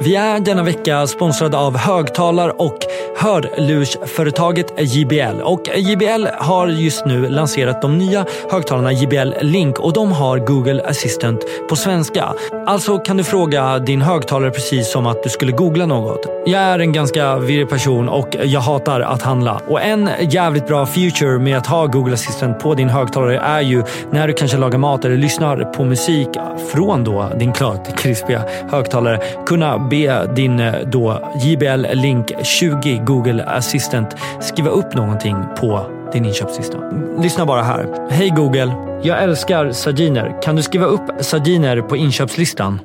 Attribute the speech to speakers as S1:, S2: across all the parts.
S1: Vi är denna vecka sponsrade av högtalar och hörlursföretaget JBL. Och JBL har just nu lanserat de nya högtalarna JBL Link och de har Google Assistant på svenska. Alltså kan du fråga din högtalare precis som att du skulle googla något. Jag är en ganska virrig person och jag hatar att handla. Och en jävligt bra future med att ha Google Assistant på din högtalare är ju när du kanske lagar mat eller lyssnar på musik från då din klart krispiga högtalare kunna be din eh, då JBL Link 20 Google Assistant skriva upp någonting på din inköpslista. Lyssna bara här. Hej Google, jag älskar sardiner. Kan du skriva upp sardiner på inköpslistan?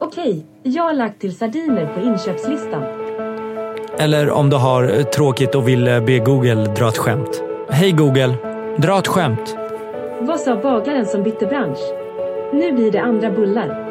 S2: Okej, jag har lagt till sardiner på inköpslistan.
S1: Eller om du har tråkigt och vill eh, be Google dra ett skämt. Hej Google, dra ett skämt.
S2: Vad sa bagaren som bytte bransch? Nu blir det andra bullar.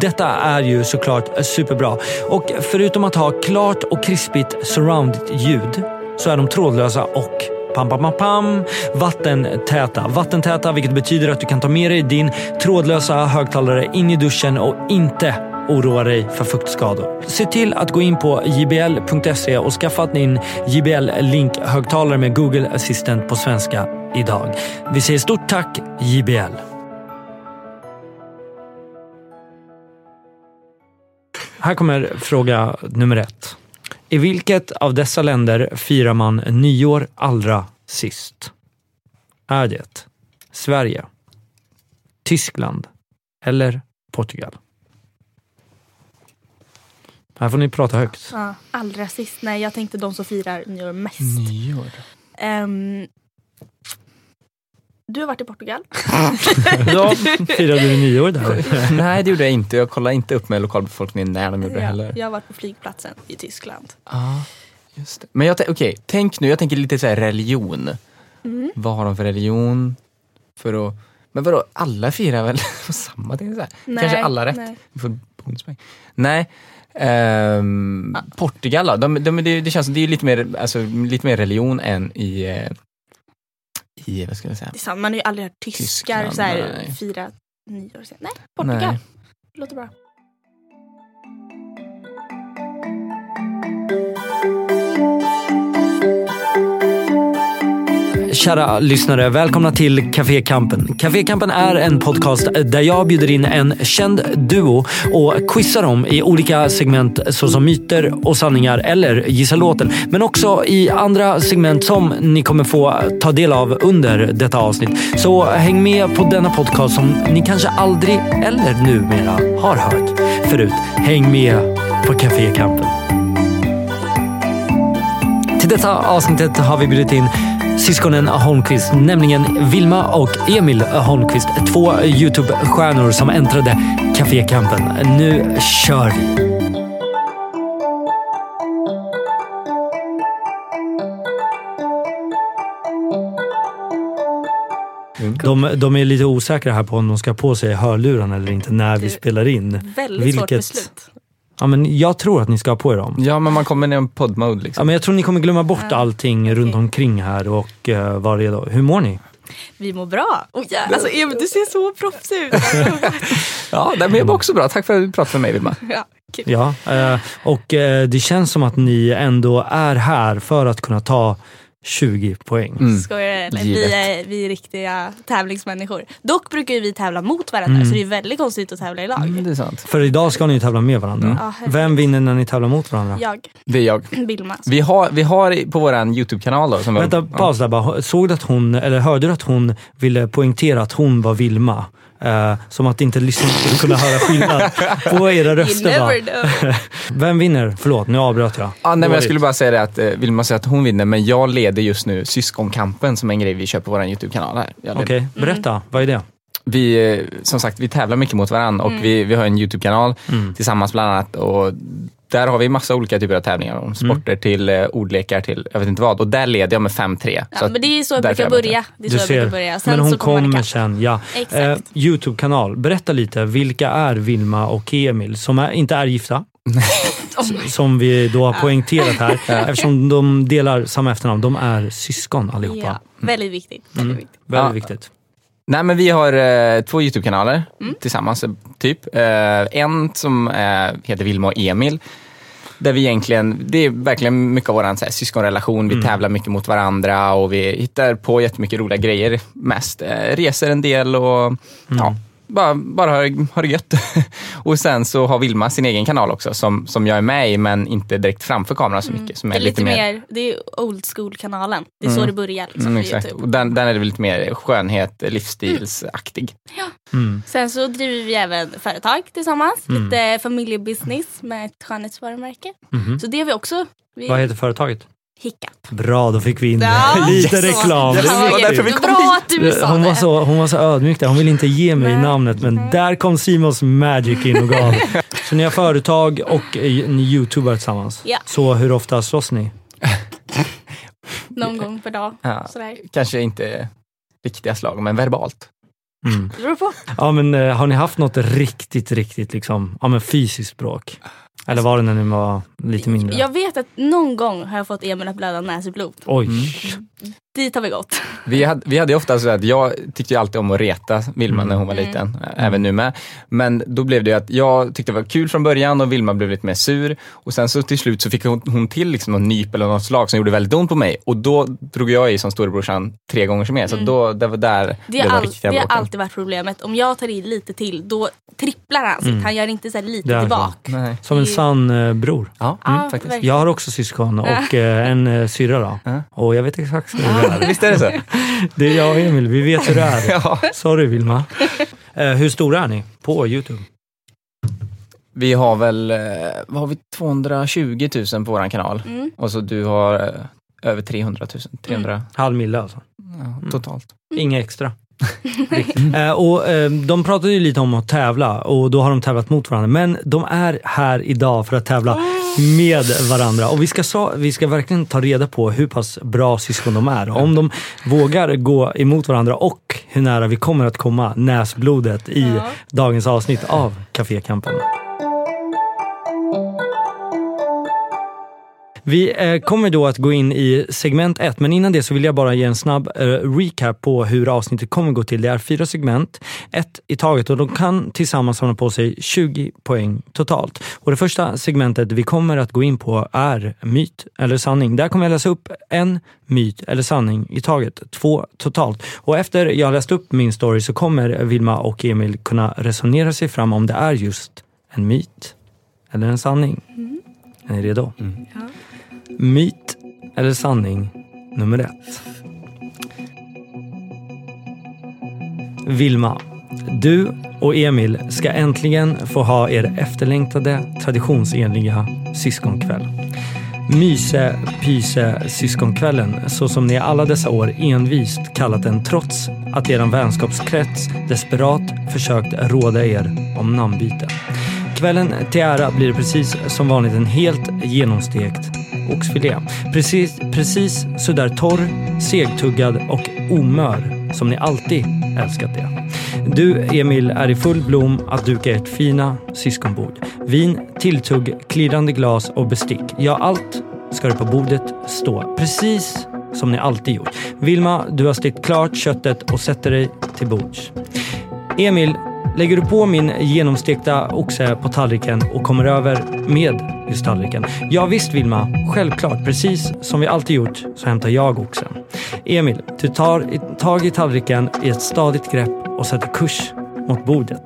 S1: Detta är ju såklart superbra. Och förutom att ha klart och krispigt surround-ljud så är de trådlösa och pam, pam, pam, pam, vattentäta. Vattentäta vilket betyder att du kan ta med dig din trådlösa högtalare in i duschen och inte oroa dig för fuktskador. Se till att gå in på jbl.se och skaffa din JBL Link högtalare med Google Assistant på svenska idag. Vi säger stort tack JBL. Här kommer fråga nummer ett. I vilket av dessa länder firar man nyår allra sist? Är det Sverige, Tyskland eller Portugal? Här får ni prata högt.
S3: Ja, allra sist. Nej, jag tänkte de som firar nyår mest.
S4: Mm.
S1: Nyår?
S3: Ehm, du har varit i Portugal.
S1: Ja, firade du nyår där?
S4: Nej, det gjorde jag inte. Jag kollade inte upp med lokalbefolkningen när de gjorde det heller.
S3: Jag har varit på flygplatsen i Tyskland.
S4: Ja, just det. Men jag tän- okej, tänk nu, jag tänker lite så här religion. Vad har de för religion? För att, men vadå, alla firar väl på samma ting? Så här. Kanske alla rätt.
S3: Nej.
S4: Vi får bonuspoäng. Nej. ehm, Portugal då? De, de, det, det känns som det är lite mer, alltså, lite mer religion än i, eh, i vad ska jag säga?
S3: Det är sant, man har ju aldrig hört tyskar
S4: Tyskland,
S3: så här,
S4: nej.
S3: fira nyår. sen. Nej, Portugal.
S4: Nej.
S3: Låter bra.
S1: Kära lyssnare, välkomna till Café Kampen. Café Kampen är en podcast där jag bjuder in en känd duo och quizar dem i olika segment såsom myter och sanningar eller gissa låten. Men också i andra segment som ni kommer få ta del av under detta avsnitt. Så häng med på denna podcast som ni kanske aldrig eller numera har hört förut. Häng med på Café Kampen. Till detta avsnittet har vi bjudit in syskonen Holmqvist, nämligen Vilma och Emil Holmqvist. Två Youtube-stjärnor som äntrade Café Kampen. Nu kör vi! De, de är lite osäkra här på om de ska ha på sig hörlurarna eller inte när vi
S3: Du-
S1: spelar in.
S3: Väldigt svårt
S1: Vilket-
S3: beslut.
S1: Ja, men jag tror att ni ska ha på er dem.
S4: Ja, men man kommer ner i poddmode liksom.
S1: Ja, men jag tror ni kommer glömma bort
S3: Ja.
S1: allting runt omkring här och uh, vad det är då. Hur mår ni?
S3: Vi mår bra. Oh, ja. Alltså Emil, du ser så proffsig ut.
S4: Ja, nej, men jag var också bra. Tack för att du pratade med mig Vilma.
S3: ja, kul.
S1: Ja, eh, och eh, det känns som att ni ändå är här för att kunna ta 20 poäng.
S4: Mm.
S3: Skojar eller?
S4: Givet.
S3: Vi är, vi är riktiga tävlingsmänniskor. Dock brukar ju vi tävla mot varandra så det är väldigt konstigt att tävla i lag.
S4: Mm, det är sant.
S1: För idag ska ni ju tävla med varandra.
S3: Ja, herregud.
S1: Vem vinner när ni tävlar mot varandra?
S3: Jag,
S4: Det är jag.
S3: Vilma.
S4: Vi har, vi har i- på vår YouTube-kanal då. Som
S1: Vänta,
S4: ja.
S1: paus där bara. Såg du att hon, eller hörde du att hon ville poängtera att hon var Vilma? Eh, som att inte lyssnarna skulle kunna höra skillnad på era
S3: You
S1: röster. Va?
S3: never know.
S1: Vem vinner? Förlåt, nu avbröt jag.
S4: Ja, Ah, nej, men jag
S1: Dåligt.
S4: skulle bara säga det att eh, Vilma säger att hon vinner, men jag leder just nu Syskonkampen som är en grej vi kör på vår YouTube-kanal. här. Jag leder.
S1: Okej,
S3: Mm.
S1: berätta. Vad är det?
S4: Vi, eh, som sagt, vi tävlar mycket mot varandra och
S3: Mm.
S4: vi, vi har en YouTube-kanal
S1: Mm.
S4: tillsammans bland annat. Och där har vi massa olika typer av tävlingar,
S1: Mm.
S4: om sporter till eh, ordlekar till jag vet inte vad. Och där leder jag med 5-3.
S3: Ja, men det är så jag
S4: därför
S3: brukar
S4: jag börjar.
S3: börja. Det är så jag brukar börja. Sen
S1: men hon
S3: så kommer man
S1: kommer
S3: ikapp.
S1: sen. Ja. Eh,
S3: Exakt.
S1: Youtube-kanal. Berätta lite, vilka är Vilma och Emil som är, inte är gifta?
S3: Oh
S1: som vi då har poängterat här. Eftersom de delar samma efternamn. De är syskon allihopa. Mm.
S3: Ja, väldigt viktigt. Väldigt viktigt.
S1: Väldigt
S4: Ja.
S1: viktigt.
S4: Nej men vi har eh, två YouTube-kanaler
S3: Mm.
S4: tillsammans, eh, typ. Eh, en som eh, heter Vilma och Emil. Där vi egentligen, det är verkligen mycket av vår så här, syskonrelation. Vi tävlar mycket mot varandra och vi hittar på jättemycket roliga grejer mest. Eh, reser en del och ja, bara, bara har, har det gött. och sen så har Vilma sin egen kanal också som, som jag är med i men inte direkt framför kameran så mycket. Som
S3: Mm. Det är lite mer, det är old school-kanalen. Det är så det börjar liksom,
S4: Mm,
S3: på
S4: exakt.
S3: YouTube.
S4: Och den, den är väl lite mer skönhet, livsstilsaktig.
S3: Mm. Sen så driver vi även företag tillsammans.
S1: Mm.
S3: Lite familjebusiness med ett skönhetsvarumärke. Så det har vi också. Vi
S1: Mhm. Vad heter företaget?
S3: Hiccup.
S1: Bra, då fick vi in
S3: Ja,
S1: det. Lite
S3: så.
S1: reklam.
S3: Det
S1: Det
S4: var
S1: är viktigt.
S4: därför vi kom
S3: Bra att du sa
S1: hon, var
S3: det.
S1: så, hon var så ödmjuk där, hon ville inte ge mig
S3: Nej.
S1: namnet men där kom Simons Magic in och gav. Så ni har företag och eh, ni youtubar tillsammans.
S3: Ja.
S1: Så hur ofta slåss ni?
S3: Någon gång per dag.
S4: Ja.
S3: Sådär. Det
S4: Kanske inte riktiga slag, men verbalt.
S1: Mm.
S3: beror på.
S1: Ja, men, eh, har ni haft något riktigt, riktigt liksom, ja, men fysiskt bråk? Eller var det när ni var lite mindre?
S3: Jag vet att någon gång har jag fått Emil att blöda näsblod.
S1: Oj.
S3: Dit har vi gått.
S4: Vi hade, vi hade ju ofta så att jag tyckte ju alltid om att reta Vilma när hon var
S3: Mm.
S4: liten, ä- även nu med. Men då blev det ju att jag tyckte det var kul från början och Vilma blev lite mer sur. Och sen så till slut så fick hon, hon till liksom någon nyp eller något slag som gjorde väldigt ont på mig. Och då drog jag i som storebrorsan tre gånger som mer. Så då, det var där
S3: Mm. Det, är
S4: blev de
S3: all,
S4: riktiga
S3: det har
S4: bråken.
S3: alltid varit problemet. Om jag tar i lite till då tripplar han sitt. Han gör inte så här lite
S1: Det är
S3: tillbaka.
S4: Nej.
S1: Som en sann eh, bror.
S4: Ja,
S3: Ja,
S4: mm, faktiskt.
S3: verkligen.
S1: Jag har också syskon och eh, en eh, syrra då. Och jag vet exakt hur det är.
S4: Visst är det så?
S1: Det är jag och Emil, vi vet hur det är.
S4: ja.
S1: Sorry Vilma. Eh, hur stora är ni på Youtube?
S4: Vi har väl eh, vad har vi, 220 000 på vår kanal.
S3: Mm.
S4: Och så du har eh, över Mm. 300 000. 300
S1: Halv mille alltså.
S4: ja, totalt.
S1: Inga extra. Riktigt. Eh, och, eh, de pratade ju lite om att tävla och då har de tävlat mot varandra. Men de är här idag för att tävla med varandra. Och vi ska, sa, vi ska verkligen ta reda på hur pass bra syskon de är. Och Om de vågar gå emot varandra och hur nära vi kommer att komma näsblodet i dagens avsnitt av Café Kampen. Vi eh, kommer då att gå in i segment ett, men innan det så vill jag bara ge en snabb eh, recap på hur avsnittet kommer gå till. Det är fyra segment, ett i taget och de kan tillsammans samla på sig 20 poäng totalt. Och det första segmentet vi kommer att gå in på är myt eller sanning. Där kommer jag läsa upp en myt eller sanning i taget, två totalt. Och efter jag har läst upp min story så kommer Vilma och Emil kunna resonera sig fram om det är just en myt eller en sanning. Är ni redo? Myt eller sanning nummer ett. Vilma, du och Emil ska äntligen få ha er efterlängtade traditionsenliga syskonkväll. Myse, pyse, syskonkvällen så som ni alla dessa år envist kallat den trots att er vänskapskrets desperat försökt råda er om namnbyte. Kvällen till ära blir det precis som vanligt en helt genomstekt oxfilé. Precis, precis sådär torr, segtuggad och omör som ni alltid älskat det. Du, Emil, är i full blom att duka ert fina syskonbord. Vin, tilltugg, klirrande glas och bestick. Ja, allt ska det på bordet stå. Precis som ni alltid gjort. Vilma, du har stekt klart köttet och sätter dig till bords. Emil, lägger du på min genomstekta oxe på tallriken och kommer över med just tallriken? Ja visst Vilma, självklart. Precis som vi alltid gjort så hämtar jag oxen. Emil, du tar i- tag i tallriken i ett stadigt grepp och sätter kurs mot bordet.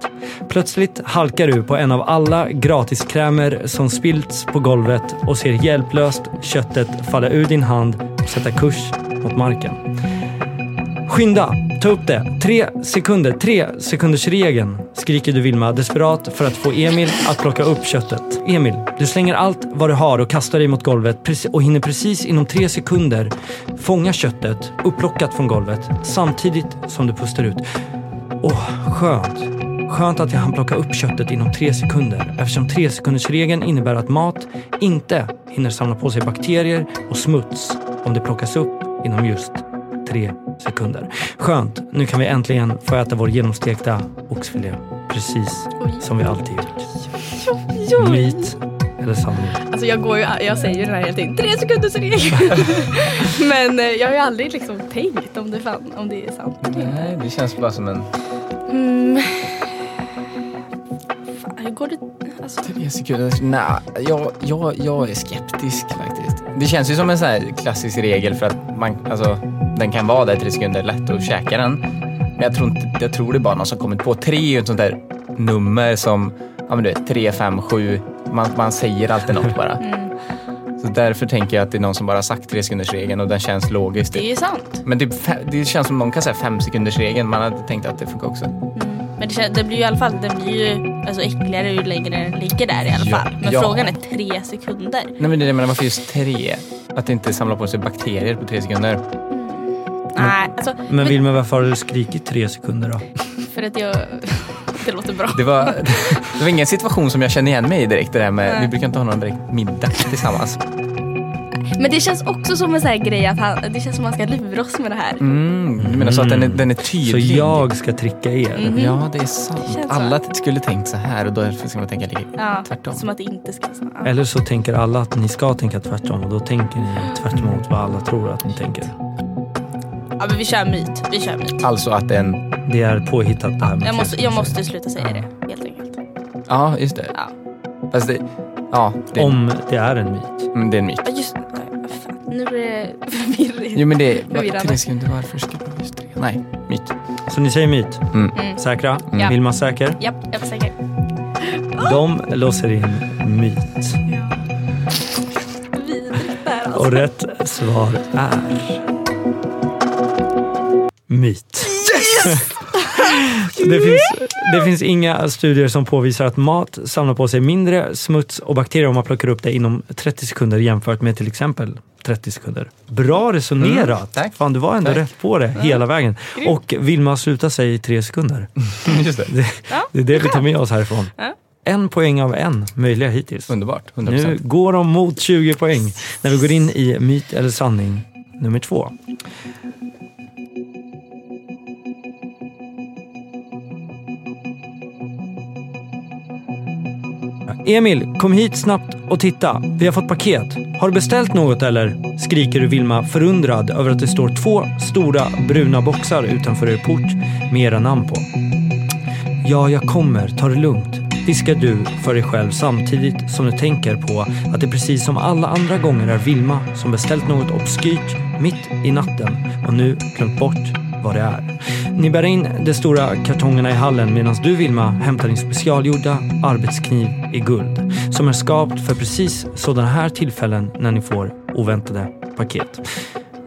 S1: Plötsligt halkar du på en av alla gratiskrämer som spillts på golvet och ser hjälplöst köttet falla ur din hand och sätta kurs mot marken. Skynda! Ta upp det! Tre sekunder, tre sekunders regeln, skriker du Vilma desperat för att få Emil att plocka upp köttet. Emil, du slänger allt vad du har och kastar dig mot golvet preci- och hinner precis inom tre sekunder fånga köttet upplockat från golvet samtidigt som du pustar ut. Åh, skönt. Skönt att jag hann plocka upp köttet inom tre sekunder eftersom tre sekunders regeln innebär att mat inte hinner samla på sig bakterier och smuts om det plockas upp inom just tre sekunder. Skönt, nu kan vi äntligen få äta vår genomstekta oxfilé. Precis som vi alltid gjort. Myt Det är sanning.
S3: Alltså jag, går ju, jag säger ju den här hela tiden, tre sekunders regel. Men eh, jag har ju aldrig liksom tänkt om det, fan, om det är sant.
S4: Nej, det känns bara som en...
S3: Mm. Fan, hur går det? Alltså,
S4: Tre sekunder. Nej, jag, jag, jag är skeptisk faktiskt. Det känns ju som en sån här klassisk regel för att man, alltså, den kan vara där i tre sekunder, lätt att käka den. Men jag tror, inte, jag tror det är bara någon som kommit på. Tre är ju ett sånt där nummer som, ja men du vet, tre, fem, sju. Man, man säger alltid något bara. Så därför tänker jag att det är någon som bara har sagt tre sekunders regeln och den känns logisk.
S3: det är
S4: Typ.
S3: ju sant.
S4: Men typ, fe- det känns som någon kan säga fem sekunders regeln. Man hade tänkt att det funkar också.
S3: Men det, kän- det blir ju i alla fall det blir ju, alltså, äckligare ju längre den ligger där i alla
S4: Ja.
S3: fall. Men
S4: Ja.
S3: frågan är tre sekunder.
S4: Nej men det är det jag menar, varför just tre? Att det inte samlar på sig bakterier på tre sekunder.
S3: Nej, alltså,
S1: Men Wilmer, varför har du skrikit tre sekunder då?
S3: för att jag... det låter bra.
S4: Det var, det var ingen situation som jag kände igen mig i direkt. Det där med,
S3: Nej.
S4: vi brukar inte ha någon direkt middag tillsammans.
S3: Men det känns också som en sån här grej att han, det känns som att han ska lura oss med det här.
S4: Mm, du menar så att den är, den är
S1: Så
S4: tydlig?
S1: jag ska tricka er.
S4: Ja, det är sant.
S3: Mm. Det känns så.
S4: Alla t- skulle tänkt så här och då ska man tänka lite
S3: Ja,
S4: tvärtom.
S3: Som att det inte ska vara ja.
S1: Eller så tänker alla att ni ska tänka tvärtom och då tänker ni tvärt emot vad alla tror att ni tänker.
S3: ja, men vi kör myt. Vi kör myt.
S4: Alltså att en...
S1: Det är påhittat det här med
S3: Jag
S1: tre
S3: måste, jag
S1: sekunder.
S3: måste sluta säga det, helt enkelt.
S4: Ja, just det.
S3: Ja.
S4: Fast det... Ja, det,
S1: Om det är en myt.
S4: mm, det är en myt.
S3: Ja, just ja, fan, Nu är det förvirrigt.
S4: Jo, men det...
S3: Förvirrande.
S4: Tre sekunder, varför ska det vara just tre? Nej, myt.
S1: Så ni säger myt?
S4: Mm.
S3: Mm.
S1: Säkra?
S3: Ja.
S1: Vilma säker?
S3: Japp, jag är säker.
S1: De låser in myt.
S3: Vidrigt det här alltså.
S1: Och rätt svar är... Myt. Det finns, det finns inga studier som påvisar att mat samlar på sig mindre smuts och bakterier om man plockar upp det inom 30 sekunder jämfört med till exempel 30 sekunder. Bra resonerat!
S4: Mm, tack.
S1: Fan, du var ändå
S4: Tack. Mm.
S1: rätt på det hela vägen. Och Vilma sluta sig i tre sekunder.
S4: Just det.
S1: Det,
S3: Ja,
S1: det är det vi tar med oss härifrån.
S3: Ja.
S1: En poäng av en möjliga hittills.
S4: Underbart. 100%.
S1: Nu går de mot 20 poäng när vi går in i myt eller sanning nummer två. Emil, kom hit snabbt och titta. Vi har fått paket. Har du beställt något eller? Skriker Vilma förundrad över att det står två stora bruna boxar utanför er port med era namn på. Ja, jag kommer. Ta det lugnt. Viskar du för dig själv samtidigt som du tänker på att det precis som alla andra gånger är Vilma som beställt något obskyrt mitt i natten och nu glömt bort vad det är. Ni bär in de stora kartongerna i hallen medan du Vilma hämtar din specialgjorda arbetskniv i guld som är skapt för precis sådana här tillfällen när ni får oväntade paket.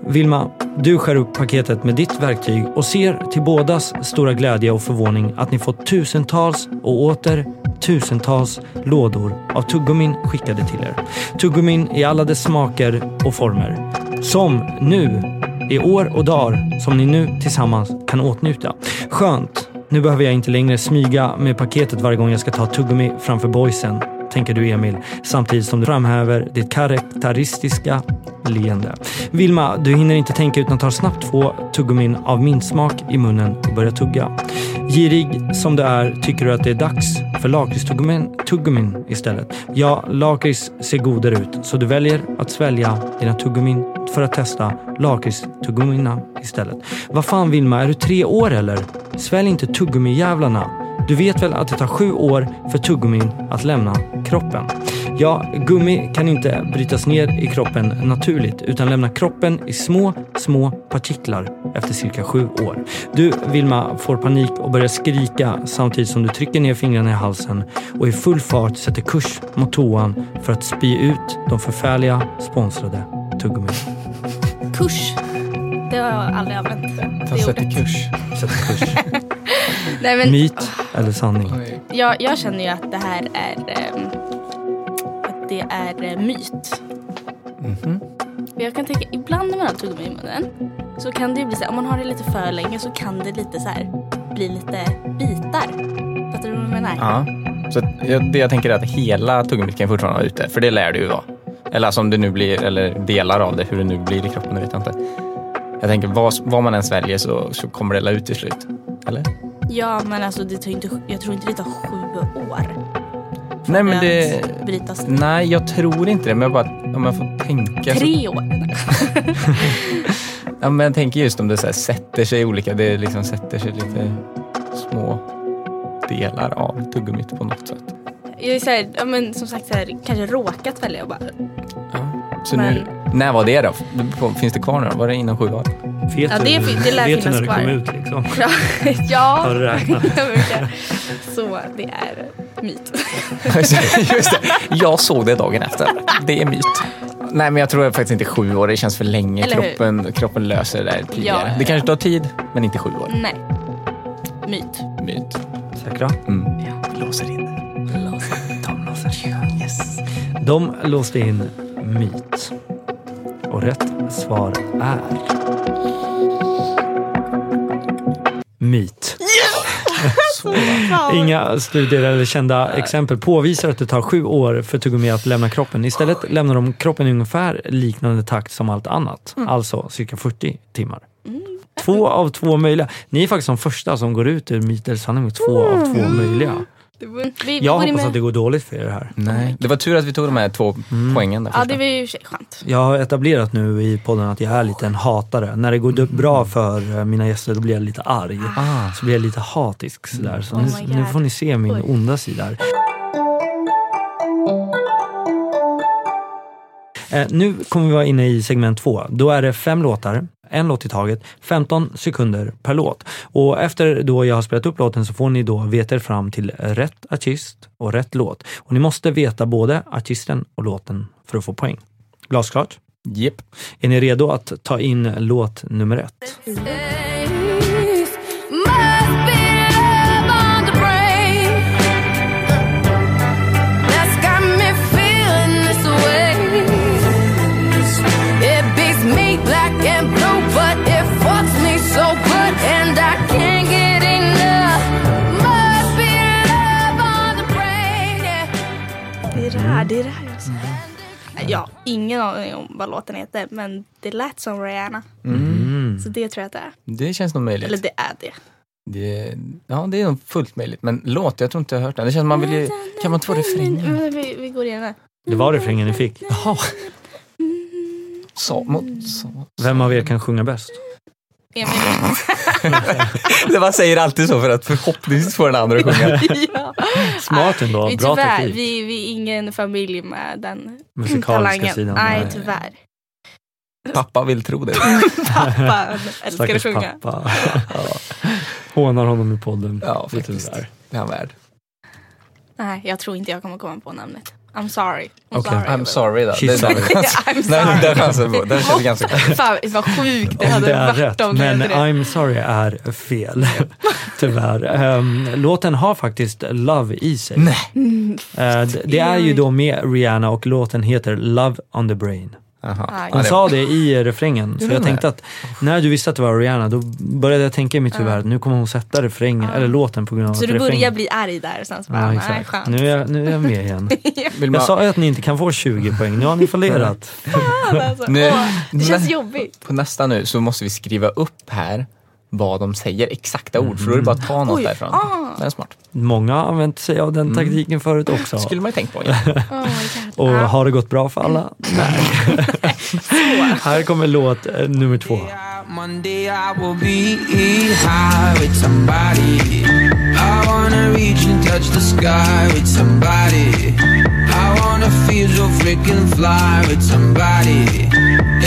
S1: Vilma, du skär upp paketet med ditt verktyg och ser till bådas stora glädje och förvåning att ni fått tusentals och åter tusentals lådor av tuggummin skickade till er. Tuggummin i alla dess smaker och former. Som nu, i år och dagar, som ni nu tillsammans kan åtnjuta. Skönt. Nu behöver jag inte längre smyga med paketet varje gång jag ska ta tuggummi framför boysen, tänker du Emil, samtidigt som du framhäver ditt karaktäristiska leende. Vilma, du hinner inte tänka utan tar snabbt två tuggummin av mintsmak i munnen och börjar tugga. Girig som du är tycker du att det är dags för lakritstuggummin tuggummin istället. Ja, lakrits ser godare ut, så du väljer att svälja dina tuggummin för att testa lakritstuggummina istället. Vad fan Vilma, är du tre år eller? Svälj inte tuggummijävlarna. Du vet väl att det tar sju år för tuggummin att lämna kroppen? Ja, gummi kan inte brytas ner i kroppen naturligt utan lämnar kroppen i små, små partiklar efter cirka sju år. Du, Vilma, får panik och börjar skrika samtidigt som du trycker ner fingrarna i halsen och i full fart sätter kurs mot toan för att spy ut de förfärliga sponsrade tuggummin.
S3: Kurs. Det har jag aldrig använt.
S4: Ta
S3: Det ordet.
S4: sätter kurs.
S1: Sätter kurs.
S3: Nej, men,
S1: Myt eller sanning?
S4: Oj.
S3: jag, jag känner ju att det här är, ehm, att det är eh, myt.
S4: Mhm.
S3: Men jag kan tänka, ibland när man har tuggummi i munnen så kan det ju bli så här, om man har det lite för länge så kan det lite så här bli lite bitar. Fattar du vad jag menar?
S4: Ja. Så att jag, det jag tänker är att hela tuggummit kan fortfarande vara ute, för det lär det ju vara. Eller alltså om det nu blir, eller delar av det, hur det nu blir i kroppen, det vet jag inte. Jag tänker, vad, vad man än sväljer så, så kommer det la ut till slut. Eller?
S3: Ja, men alltså det tar ju inte, jag tror inte det tar sju år.
S4: Nej,
S3: ens
S4: men det-
S3: brytas ner.
S4: Nej, alltså- jag tror inte det. Men jag bara, om jag får tänka. Så,
S3: Tre år.
S4: ja, men jag tänker just om det så här, sätter sig olika. Det liksom sätter sig lite små delar av tuggummit på något sätt.
S3: Jag är så här, ja, men som sagt så här, kanske råkat välja och bara
S4: Så nu,
S3: Men-
S4: när var det då? Finns det kvar nu då? Var det innan sjuan?
S1: Vet
S3: Ja,
S1: du,
S3: det fin- det lär
S1: vet du
S3: finnas
S1: när det
S3: kvar.
S1: kom ut liksom?
S3: Ja,
S1: Har
S3: ja.
S1: du räknat?
S3: så det är myt.
S4: Just det. Jag såg det dagen efter. Det är myt. Nej, men jag tror faktiskt inte sju år. Det känns för länge.
S3: Eller hur?
S4: Kroppen, kroppen löser det där tidigare.
S3: Ja, ja,
S4: Det
S3: ja.
S4: kanske tar tid, men inte sju år.
S3: Nej. Myt.
S4: Myt.
S1: Säkra?
S4: Mm.
S3: Ja.
S4: Låser in.
S1: De låser in. De låste in myt. Och rätt svar är... Myt. Inga studier eller kända exempel påvisar att det tar sju år för tuggummi att lämna kroppen. Istället lämnar de kroppen i ungefär liknande takt som allt annat. Alltså cirka 40 timmar. Två av två möjliga. Ni är faktiskt de första som går ut ur myt eller sanning med två av två möjliga.
S3: Det var- Vi, vi
S1: Jag
S3: borde
S1: hoppas
S3: med-
S1: att det går dåligt för er här.
S4: Nej. Det var tur att vi tog de här två poängen. Där
S3: Ja,
S4: första.
S3: det var ju i och för sig skönt.
S1: Jag har etablerat nu i podden att jag är lite en hatare. När det går
S3: Mm.
S1: d- bra för eh, mina gäster då blir jag lite arg.
S4: Ah.
S1: Så blir jag lite hatisk sådär. Så
S3: Oh
S1: nu,
S3: my God.
S1: nu får ni se min
S3: Oj.
S1: onda sida här. Eh, nu kommer vi vara inne i segment två. Då är det fem låtar, en låt i taget, 15 sekunder per låt. Och efter då jag har spelat upp låten så får ni då veta er fram till rätt artist och rätt låt. Och ni måste veta både artisten och låten för att få poäng. Glasklart?
S4: Japp.
S1: Är ni redo att ta in låt nummer ett?
S3: Mm. Det är det här, det är det här jag sa. Mm. Ja, ingen aning om vad låten heter men det lät som Rihanna.
S1: Mm.
S3: Så det tror jag att det är.
S4: Det känns nog möjligt.
S3: Eller det är det.
S4: Det, ja, det är nog fullt möjligt. Men låt, jag tror inte jag har hört den. Det känns som man vill ju... Kan man två refränger?
S3: Men Mm, Vi, vi går igenom.
S1: Det var refrängen ni fick.
S4: Jaha. Sa, mot, sa.
S1: Vem av er kan sjunga bäst?
S3: Emil.
S4: Det man säger alltid så för att förhoppningsvis få den andra att sjunga.
S3: ja.
S1: Smart ändå,
S3: vi,
S1: bra
S3: tyvärr,
S1: teknik.
S3: vi, vi är ingen familj med den
S1: Musikaliska
S3: talangen.
S1: sidan.
S3: Nej,
S1: Nej.
S3: tyvärr.
S4: Pappa vill tro det.
S3: Pappa älskar att
S1: Stackars
S3: sjunga.
S1: pappa. Hånar honom i podden.
S4: Ja,
S1: Lite
S4: faktiskt.
S1: sådär.
S4: Det är han värd.
S3: Nej, jag tror inte jag kommer komma på namnet. I'm sorry. I'm
S1: Okej.
S3: sorry.
S4: I'm sorry då.
S1: She's
S4: Det är
S1: sorry.
S4: den
S3: Ja,
S4: chansen.
S3: I'm sorry.
S4: Nej, den chansen får- den känns ganska
S3: Fan vad sjukt det
S1: Om
S3: hade
S1: det är
S3: varit
S1: rätt,
S3: om det
S1: men
S3: hade det.
S1: I'm sorry är fel. Tyvärr. Ehm, låten har faktiskt Love i sig.
S4: Nej.
S1: Eh, d- det är ju då med Rihanna och låten heter Love on the brain.
S4: Jaha.
S3: Aj.
S4: Ja,
S1: Hon
S4: det-
S1: sa det i refrängen, så
S4: Gjorde
S1: jag
S4: hon
S1: tänkte
S4: det?
S1: att när du visste att det var Rihanna, då började jag tänka i mitt huvud att nu kommer hon sätta refrängen, eller låten på grund av
S3: Så
S1: att
S3: du
S1: refrängen...
S3: börjar bli arg där och sen så bara,
S1: Ja,
S3: nej
S1: exakt.
S3: skönt.
S1: Nu är, jag, nu är jag med igen.
S4: Vill
S1: Jag
S4: man,
S1: sa ju att ni inte kan få 20 poäng, nu har ni fallerat.
S3: Fan, alltså.
S4: Nu-
S3: Åh, det känns
S4: Nej.
S3: jobbigt.
S4: på nästa nu så måste vi skriva upp här vad de säger, exakta ord. För då är det bara att ta något
S3: Oj,
S4: därifrån.
S3: ah.
S4: Det är smart.
S1: Många har använt sig av den taktiken förut också.
S4: Mm. skulle man ju tänkt på.
S3: Oh my God.
S1: Och
S3: Ah.
S1: har det gått bra för
S3: Mm.
S1: alla? Nej. Här kommer låt eh, nummer två.
S5: One day I will be high with somebody. I wanna reach and touch the sky with somebody. I wanna feel so freaking fly with somebody.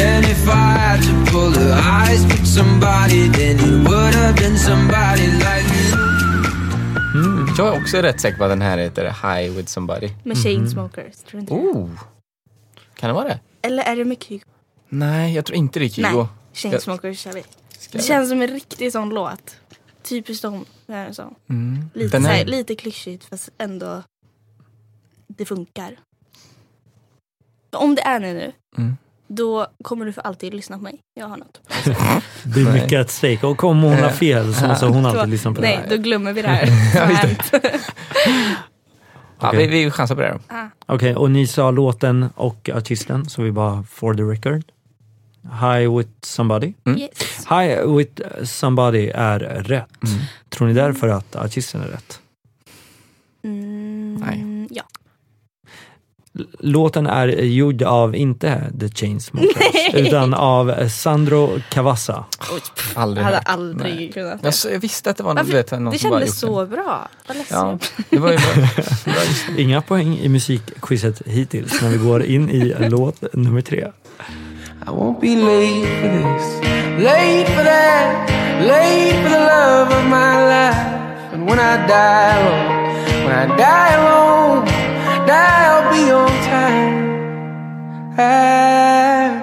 S5: And if I had to pull her eyes with somebody, then it would have been somebody like you.
S4: Jag är också rätt säker på att den här heter High with somebody.
S1: Mm-hmm.
S3: Med Chainsmokers, tror du inte det?
S4: Oh. Kan det vara det?
S3: Eller är det med Kygo?
S4: Nej, jag tror inte det är Kygo.
S3: Nej, Chainsmokers kör vi.
S4: Ska
S3: Det
S4: jag-
S3: känns som en riktig sån låt. Typiskt dem. det är en sån.
S4: Mm.
S3: Lite,
S4: Den
S3: så
S4: här-
S3: här, lite klyschigt fast ändå det funkar. Om det är nu nu,
S4: Mm.
S3: då kommer du för alltid lyssna på mig. Jag har något.
S1: Det är
S4: Nej.
S1: mycket att stake. Och om hon har fel så måste hon
S3: Så-
S1: alltid lyssna på det
S3: Nej,
S1: här.
S3: då glömmer vi det här. Så här.
S4: Ja,
S1: Okej.
S4: vi, vi chansar på det här då.
S1: Okej, och ni sa låten och artisten, så vi bara for the record. High with somebody.
S4: Mm.
S3: yes.
S1: High with somebody är rätt.
S4: Mm.
S1: Tror ni därför att artisten är rätt?
S3: mm,
S4: Nej.
S3: Ja.
S1: Låten är gjord av, inte The Chainsmokers, utan av Sandro Cavazza.
S4: Aldrig
S3: Jag hade
S4: hört.
S3: aldrig kunnat
S4: Jag,
S3: det.
S4: s- jag visste att det var någon,
S3: Varför?
S4: du vet, någon
S3: det
S4: som bara gjort
S3: kändes så bra. Vad ledsen.
S4: Ja, det var ju bra.
S1: Inga poäng i musikquizet hittills när vi går in i låt nummer tre.
S5: I won't be late for this, late for that, late for the love of my life. And when I die alone, when I die alone, die I'll be on time. Ah.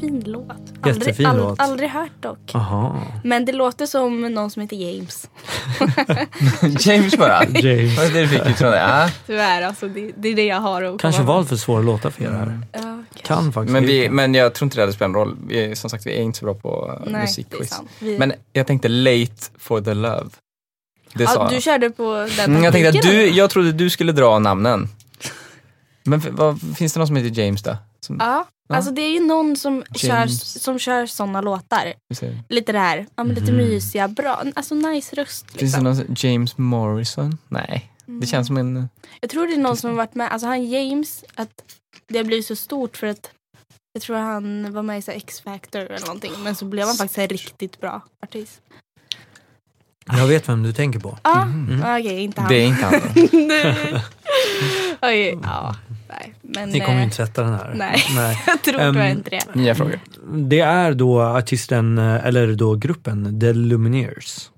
S3: Fin låt.
S1: Jättefin
S3: aldrig,
S1: låt.
S3: aldrig hört dock.
S1: Aha,
S3: Men det låter som någon som heter James.
S4: James bara.
S1: James.
S4: Vad är det du fick ifrån det? Ja.
S3: Tyvärr alltså, det, det är det jag har att
S1: Kanske
S3: komma
S1: valt för svåra låtar för er här.
S3: med. Ja, okej.
S1: Kan faktiskt.
S4: Mm. Men, vi, men jag tror inte det hade spelat någon roll. Vi, är- som sagt, vi är inte så bra på
S3: Nej,
S4: Nej,
S3: det är
S4: musikquiz.
S3: sant. Vi...
S4: Men jag tänkte late for the love. Det
S3: ja,
S4: sa
S3: du
S4: jag.
S3: körde på den
S4: Mm, jag, tänkte att
S3: taktiken.
S4: du, jag trodde du skulle dra namnen. Men f- vad, finns det någon som heter James då? Som,
S3: Ja,
S4: Ja.
S3: alltså det är ju någon som kör,
S4: James.
S3: som kör sådana låtar.
S4: vi säger.
S3: Lite det här, ja, men lite mysiga, bra, alltså nice röst.
S4: Finns Mhm. det
S3: Liksom.
S4: någon som- James Morrison? Nej, det känns som en...
S3: Jag tror det är någon som har varit med, alltså han James, att det har blivit så stort för att jag tror han var med i så här X-Factor eller någonting. Men så blev han faktiskt en riktigt bra artist.
S1: Jag vet vem du tänker på.
S3: Ja, ah, okej, inte han.
S4: Mhm. Det är inte han. då.
S3: Nej. Okej, ja. Nej, men
S1: Ni kommer ju
S3: eh,
S1: inte sätta den här.
S3: Nej. jag tror
S1: Ehm,
S3: tyvärr inte det.
S4: Nya frågor.
S1: Det är då artisten, eh, eller då gruppen, The Lumineers.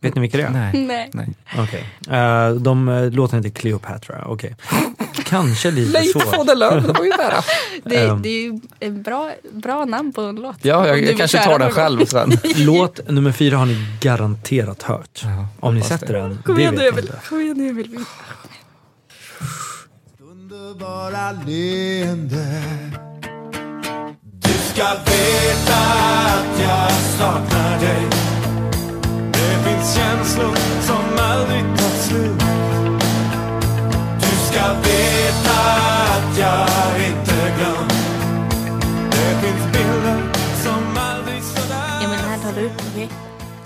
S1: Vet ni vilka det är?
S4: Nej.
S3: Nej.
S1: Okej. Eh, de eh, låten heter Cleopatra, okej. Kanske lite
S4: Late
S1: svårt.
S4: for the love, det var ju nära.
S3: Det,
S1: Ehm.
S3: det är ju en bra, bra namn på en låt.
S4: Ja,
S3: Om
S4: jag,
S3: du vill
S4: jag kanske
S3: köra
S4: tar den
S3: någon gång.
S4: själv sen.
S1: Låt nummer fyra har ni garanterat hört. Om ni sätter den, det
S3: Kom igen
S1: vet
S3: nu
S1: jag
S3: Emil.
S1: inte.
S3: Kom igen nu Emil.
S6: underbara leende Du ska veta att jag saknar dig Det finns känslor som aldrig tar slut Du ska veta att jag inte glömt Det finns bilder som aldrig sådär
S3: Emil, den här tar du. Okej?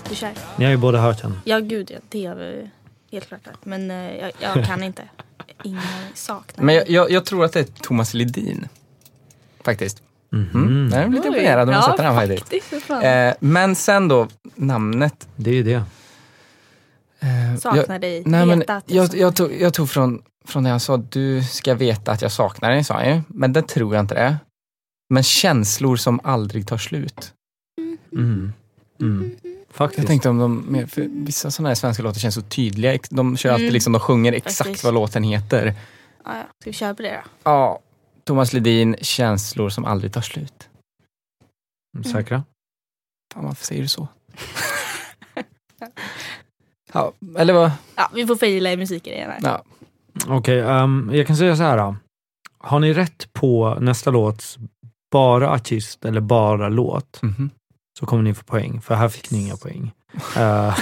S3: Du kör.
S1: Ni har ju båda hört den.
S3: Ja, gud ja. Det är väl helt klart. det. Men eh, jag, jag kan inte. Ingen saknar.
S4: Men jag, jag, jag tror att det är Thomas Ledin. Faktiskt. Mm. Jag blev lite
S3: Oj.
S4: imponerad när jag
S3: Ja,
S4: satte den faktiskt.
S3: Det är för fan.
S4: Eh, men sen då, namnet.
S1: Det är ju det.
S4: Eh,
S3: saknar
S4: jag,
S3: dig.
S4: nej, men
S3: Veta att jag
S4: jag,
S3: saknar
S4: jag, tog, jag tog från, från det han sa, du ska veta att jag saknar dig, sa han ju. Men det tror jag inte det är. Men känslor som aldrig tar slut.
S1: Mm. Mm.
S4: Jag
S1: Faktiskt.
S4: tänkte om de, mer- för vissa sådana här svenska låtar känns så tydliga. Ex- De kör alltid
S3: Mm.
S4: liksom, de sjunger exakt
S3: Precis.
S4: vad låten heter.
S3: Ja, ja. Ska vi köra på det då?
S4: Ja, Thomas Ledin, känslor som aldrig tar slut.
S1: Mm. Säkra?
S4: Fan, varför säger du så? ja, eller vad?
S3: Ja, vi får fejla i musikgrejen här.
S4: Ja.
S1: Okej, ehm, jag kan säga så här. Då. Har ni rätt på nästa låts bara artist eller bara låt
S4: Mhm.
S1: så kommer ni få poäng, för här fick ni inga poäng. Eh,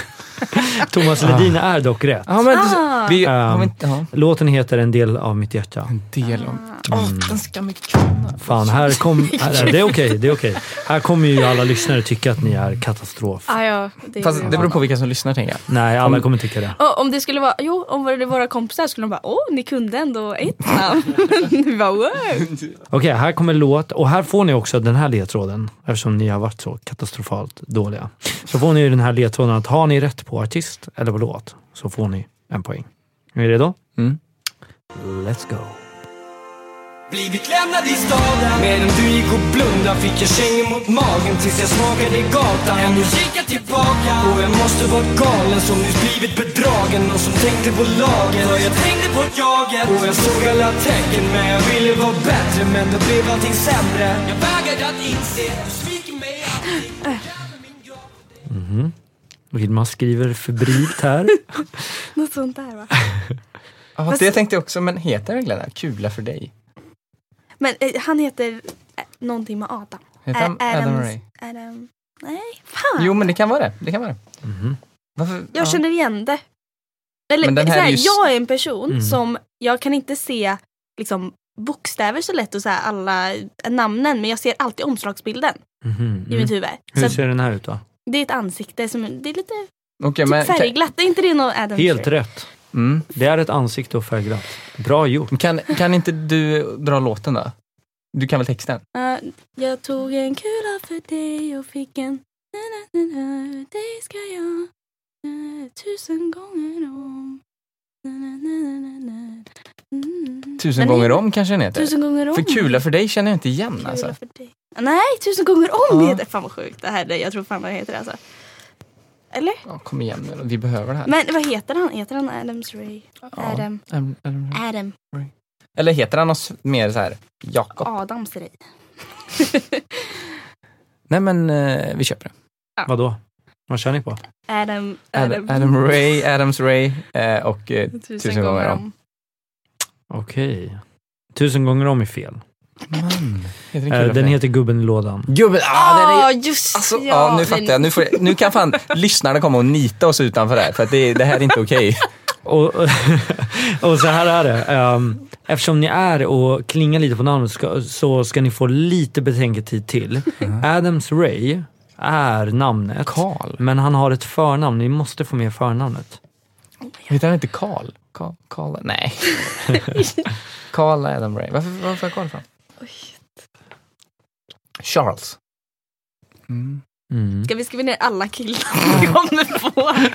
S1: Thomas Ledin är dock rätt.
S4: Ja, men
S3: Ah.
S4: vi,
S1: Ehm.
S4: har vi inte, ja.
S1: Låten heter En del av mitt hjärta.
S4: En del om...
S3: Ah,
S1: Mm.
S4: den ska mycket kunna.
S1: Fan, här kom... Här, det är okej, det är okej. Här kommer ju alla lyssnare tycka att ni är katastrof.
S3: Ah, ja, det,
S4: Fast det beror på vilka som lyssnar tänker jag.
S1: Nej, alla kommer tycka det.
S3: Ja, om det skulle vara, jo, om det var våra kompisar skulle de bara, åh, ni kunde ändå ett namn. Vi bara, wow.
S1: Okej, här kommer låt och här får ni också den här ledtråden eftersom ni har varit så katastrofalt dåliga. Så får ni ju den här ledtråden att har ni rätt på artist eller på låt så får ni en poäng. Är ni redo?
S4: Mm.
S1: Let's go.
S7: Blivit lämnad i staden Medan du gick och blunda fick jag kängor mot magen tills jag smakade gatan Jag nu kikar tillbaka och jag måste varit galen som nyss blivit bedragen och som tänkte på lagen Och jag tänkte på jaget och jag såg alla tecken men jag ville vara bättre men då blev allting sämre Jag vägrade att inse, du sviker mig alltid
S1: Vilma skriver febrilt här.
S3: Något sånt där va?
S4: Ja, fast det tänkte jag också, men heter den Glenn? Kula för dig?
S3: Men eh, han heter eh, någonting med Adam.
S4: Heter han
S3: Ä- Adams-
S4: Adam Ray?
S3: Adam. Nej, fan.
S4: Jo, men det kan vara det. Det kan vara det.
S1: Mhm.
S4: Varför?
S3: Jag
S4: ja.
S3: känner igen det. Eller
S4: Men den här
S3: så här,
S4: är ju s-
S3: jag är en person
S1: Mm.
S3: som, jag kan inte se liksom, bokstäver så lätt och så här, alla eh, namnen men jag ser alltid omslagsbilden
S1: Mhm,
S3: i
S1: mm.
S3: mitt huvud. Så
S1: Hur
S3: att
S1: ser den här ut då?
S3: det är ett ansikte som, det är lite
S4: Okej,
S3: typ
S4: men, mm.
S3: färgglatt. Är inte det någon Adam
S1: Helt rätt. Det är ett ansikte att färggrann. Bra gjort.
S4: Men Kan, kan inte du dra låten då? Du kan väl texten?
S3: Eh, jag tog en kula för dig och fick en na-na-na-na, dig ska jag eh, tusen gånger om. Na-na-na-na-na. Mm.
S4: Tusen
S3: Men
S4: gånger
S3: det-
S4: om kanske den heter?
S3: Tusen gånger om.
S4: För kula för dig känner jag inte igen
S3: Kula
S4: alltså.
S3: för dig. Nej, tusen gånger om
S4: Ja.
S3: heter Fan vad sjukt det här är. Jag tror fan vad det heter alltså. Eller?
S4: Ja, kom igen nu då. vi behöver det här.
S3: Men vad heter han? Heter han Adams Ray?
S4: Ja.
S3: Adam.
S4: Adam- Adam-
S3: Adam.
S4: Eller heter han något mer så här Jakob?
S3: Adams Ray.
S4: Nej men eh, vi köper det.
S1: Vadå? Vad kör ni på?
S3: Adam.
S4: Adam, Adam Ray, Adams Ray eh, och eh, tusen gånger om.
S1: Okej. Tusen gånger om är fel.
S4: Man. Heter den
S1: Eh,
S4: kula för
S1: den
S4: dig?
S1: heter Gubben i lådan.
S4: Gubben, ah, den
S3: Ja,
S4: är...
S3: just
S4: Alltså, ja, nu
S3: den-
S4: fattar jag. Nu, får jag. nu kan fan lyssnarna komma och nita oss utanför det här, för att det, det här är inte okej.
S1: Och, och så här är det. Ehm, eftersom ni är och klingar lite på namnet ska, så ska ni få lite betänketid till. Adams Ray är namnet.
S4: Karl?
S1: Men han har ett förnamn. Ni måste få med förnamnet.
S4: Heter han inte Karl? Karl? Karl? Nej. Karl Adam Ray. Varför, varför är Karl ifrån? Charles. Mm.
S1: Mm.
S3: Ska vi skriva ner alla killar vi kommer på?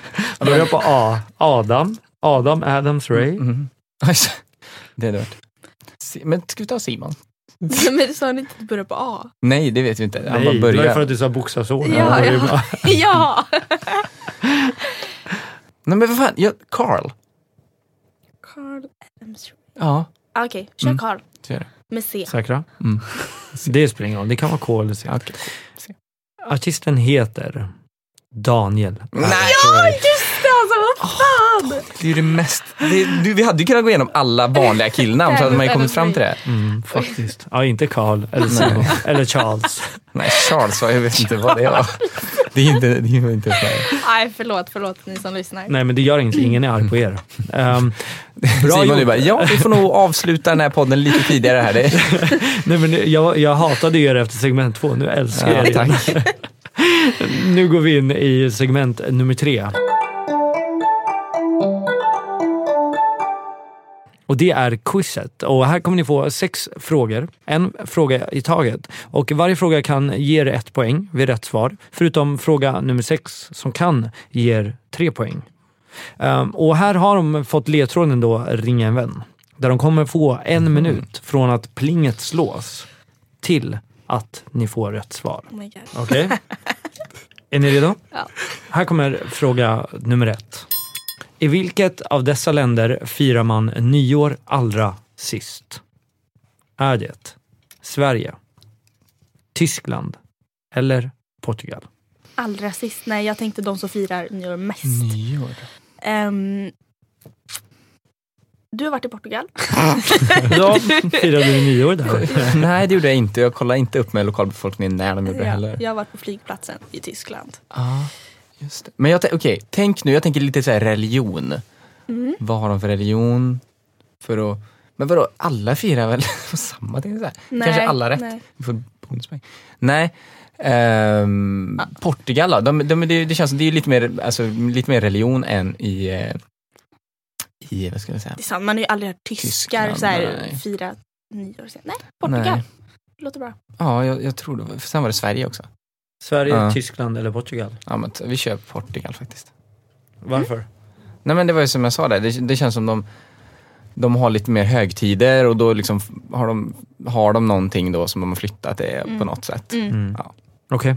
S1: Börja på A. Adam. Adam Adams Ray.
S4: Mm. Oj, det är dört. Si- Men ska vi ta Simon?
S3: Ja, Men sa ni inte att det börjar på A?
S4: Nej, det vet vi inte. Han bara
S1: Nej, det var ju för
S4: börjar.
S1: att du sa bokstavsord.
S3: Ja, ja. ja.
S4: Nej, men vad fan. Ja, Karl.
S3: Carl Adams Ray.
S4: Ja,
S3: Okej, kör
S4: Mm.
S3: Carl.
S4: så är det.
S3: Med C.
S1: Säkra?
S4: Mm.
S1: Det spelar ingen roll. Det kan vara K eller C.
S4: Ja, okej.
S1: Artisten heter Daniel.
S4: Nej!
S3: Ja, just det alltså! Vad fan!
S4: Det är ju det mest... Det, du, vi hade ju kunnat gå igenom alla vanliga killnamn så hade man ju kommit fram till det.
S1: Mm, faktiskt. Ja, inte Carl eller Simon eller Charles.
S4: Nej, Charles, jag vet inte vad det var. Det är inte... Det är inte
S3: Nej, förlåt, förlåt ni som lyssnar.
S1: Nej, men det gör inget. Ingen är arg på er. Ehm,
S4: Bra Simon du
S1: gjort.
S4: bara, ja vi får nog avsluta den här podden lite tidigare här. Det,
S1: Nej, men jag, jag hatade ju er efter segment två. Nu älskar jag er.
S4: ja,
S1: igen.
S4: tack.
S1: Nu går vi in i segment nummer tre. Och det är quizet. Och här kommer ni få sex frågor, en fråga i taget. Och varje fråga kan ge er ett poäng vid rätt svar. Förutom fråga nummer sex som kan ge er tre poäng. Ehm, och här har de fått ledtråden då ringa en vän. Där de kommer få en minut från att plinget slås till att ni får rätt svar.
S3: Oh my god.
S1: Okej. Är ni redo?
S3: Ja.
S1: Här kommer fråga nummer ett. I vilket av dessa länder firar man nyår allra sist? Är det Sverige, Tyskland eller Portugal?
S3: Allra sist, nej jag tänkte de som firar nyår mest.
S4: Nyår.
S3: Ehm, du har varit i Portugal.
S1: Ja, firade du nyår där?
S4: Nej, det gjorde jag inte. Jag kollade inte upp med lokalbefolkningen när de gjorde det
S3: Ja,
S4: heller.
S3: jag har varit på flygplatsen i Tyskland.
S4: Ja, just det. Men jag, tän- okej, tänk nu, jag tänker lite så här religion.
S3: Mm.
S4: Vad har de för religion? För att, men vadå, alla firar väl på samma ting? Så här. Kanske alla rätt.
S3: nej.
S4: Vi får bonuspoäng. Nej. ehm,
S3: Ah.
S4: Portugal då? De, de, det, det känns som det är lite mer, alltså, lite mer religion än i, eh, i vad ska jag säga?
S3: Det är sant, man har ju aldrig hört tyskar
S4: Tyskland,
S3: så här,
S4: nej.
S3: fira nyår. sen. Nej, Portugal.
S4: Nej.
S3: Låter bra.
S4: Ja, jag, jag tror det. var- Sen var det Sverige också.
S1: Sverige,
S4: Ja.
S1: Tyskland eller Portugal?
S4: Ja, men t- vi kör Portugal faktiskt.
S1: Varför?
S4: Nej men det var ju som jag sa där, det, det känns som de, de har lite mer högtider och då liksom f- har de, har de någonting då som de har flyttat det
S3: Mm.
S4: på något sätt. Ja.
S1: Mm. Okej.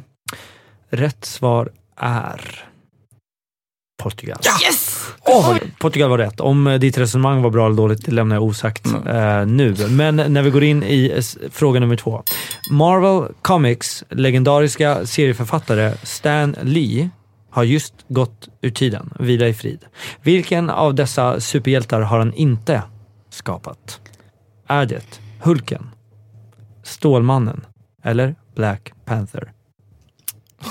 S1: Rätt svar är Portugal.
S3: Yes!
S1: Åh, Portugal var rätt. Om eh, ditt resonemang var bra eller dåligt det lämnar jag osagt eh, nu. Men när vi går in i eh, s- fråga nummer två. Marvel Comics legendariska serieförfattare Stan Lee har just gått ur tiden, vila i frid. Vilken av dessa superhjältar har han inte skapat? Är det Hulken, Stålmannen eller Black Panther?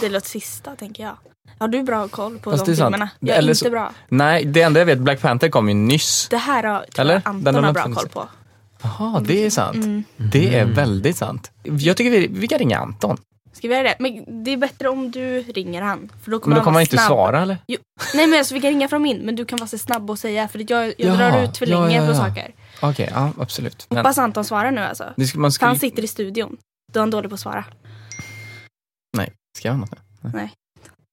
S3: Det låter sista tänker jag. Har du bra koll på
S4: Fast
S3: de
S4: det är sant.
S3: filmerna? Jag är
S4: Eller
S3: inte
S4: så-
S3: bra.
S4: Nej, det enda jag vet, Black Panther kom ju nyss.
S3: Det här har, tror
S4: Eller?
S3: jag
S4: Den
S3: Anton
S4: har
S3: har
S4: man
S3: bra
S4: funnits
S3: koll
S4: i.
S3: på. Mm.
S4: Mm. Jaha, det är sant. Det är väldigt sant. Jag tycker vi, vi kan ringa Anton.
S3: Ska vi göra det? Men det är bättre om du ringer han. För då kommer
S4: Men då
S3: vara
S4: kommer han inte
S3: snabb.
S4: svara eller?
S3: Jo, nej men alltså vi kan ringa från min men du kan vara så snabb och säga för att jag, jag
S4: Jaha,
S3: drar ut för
S4: ja,
S3: länge
S4: ja,
S3: på
S4: ja.
S3: saker.
S4: Okej, ja absolut. Men,
S3: Hoppas Anton svarar nu alltså.
S4: det ska, man
S3: För
S4: skulle,
S3: han sitter i studion. Då är han dålig på att svara.
S4: nej, ska jag göra något nu?
S3: Nej.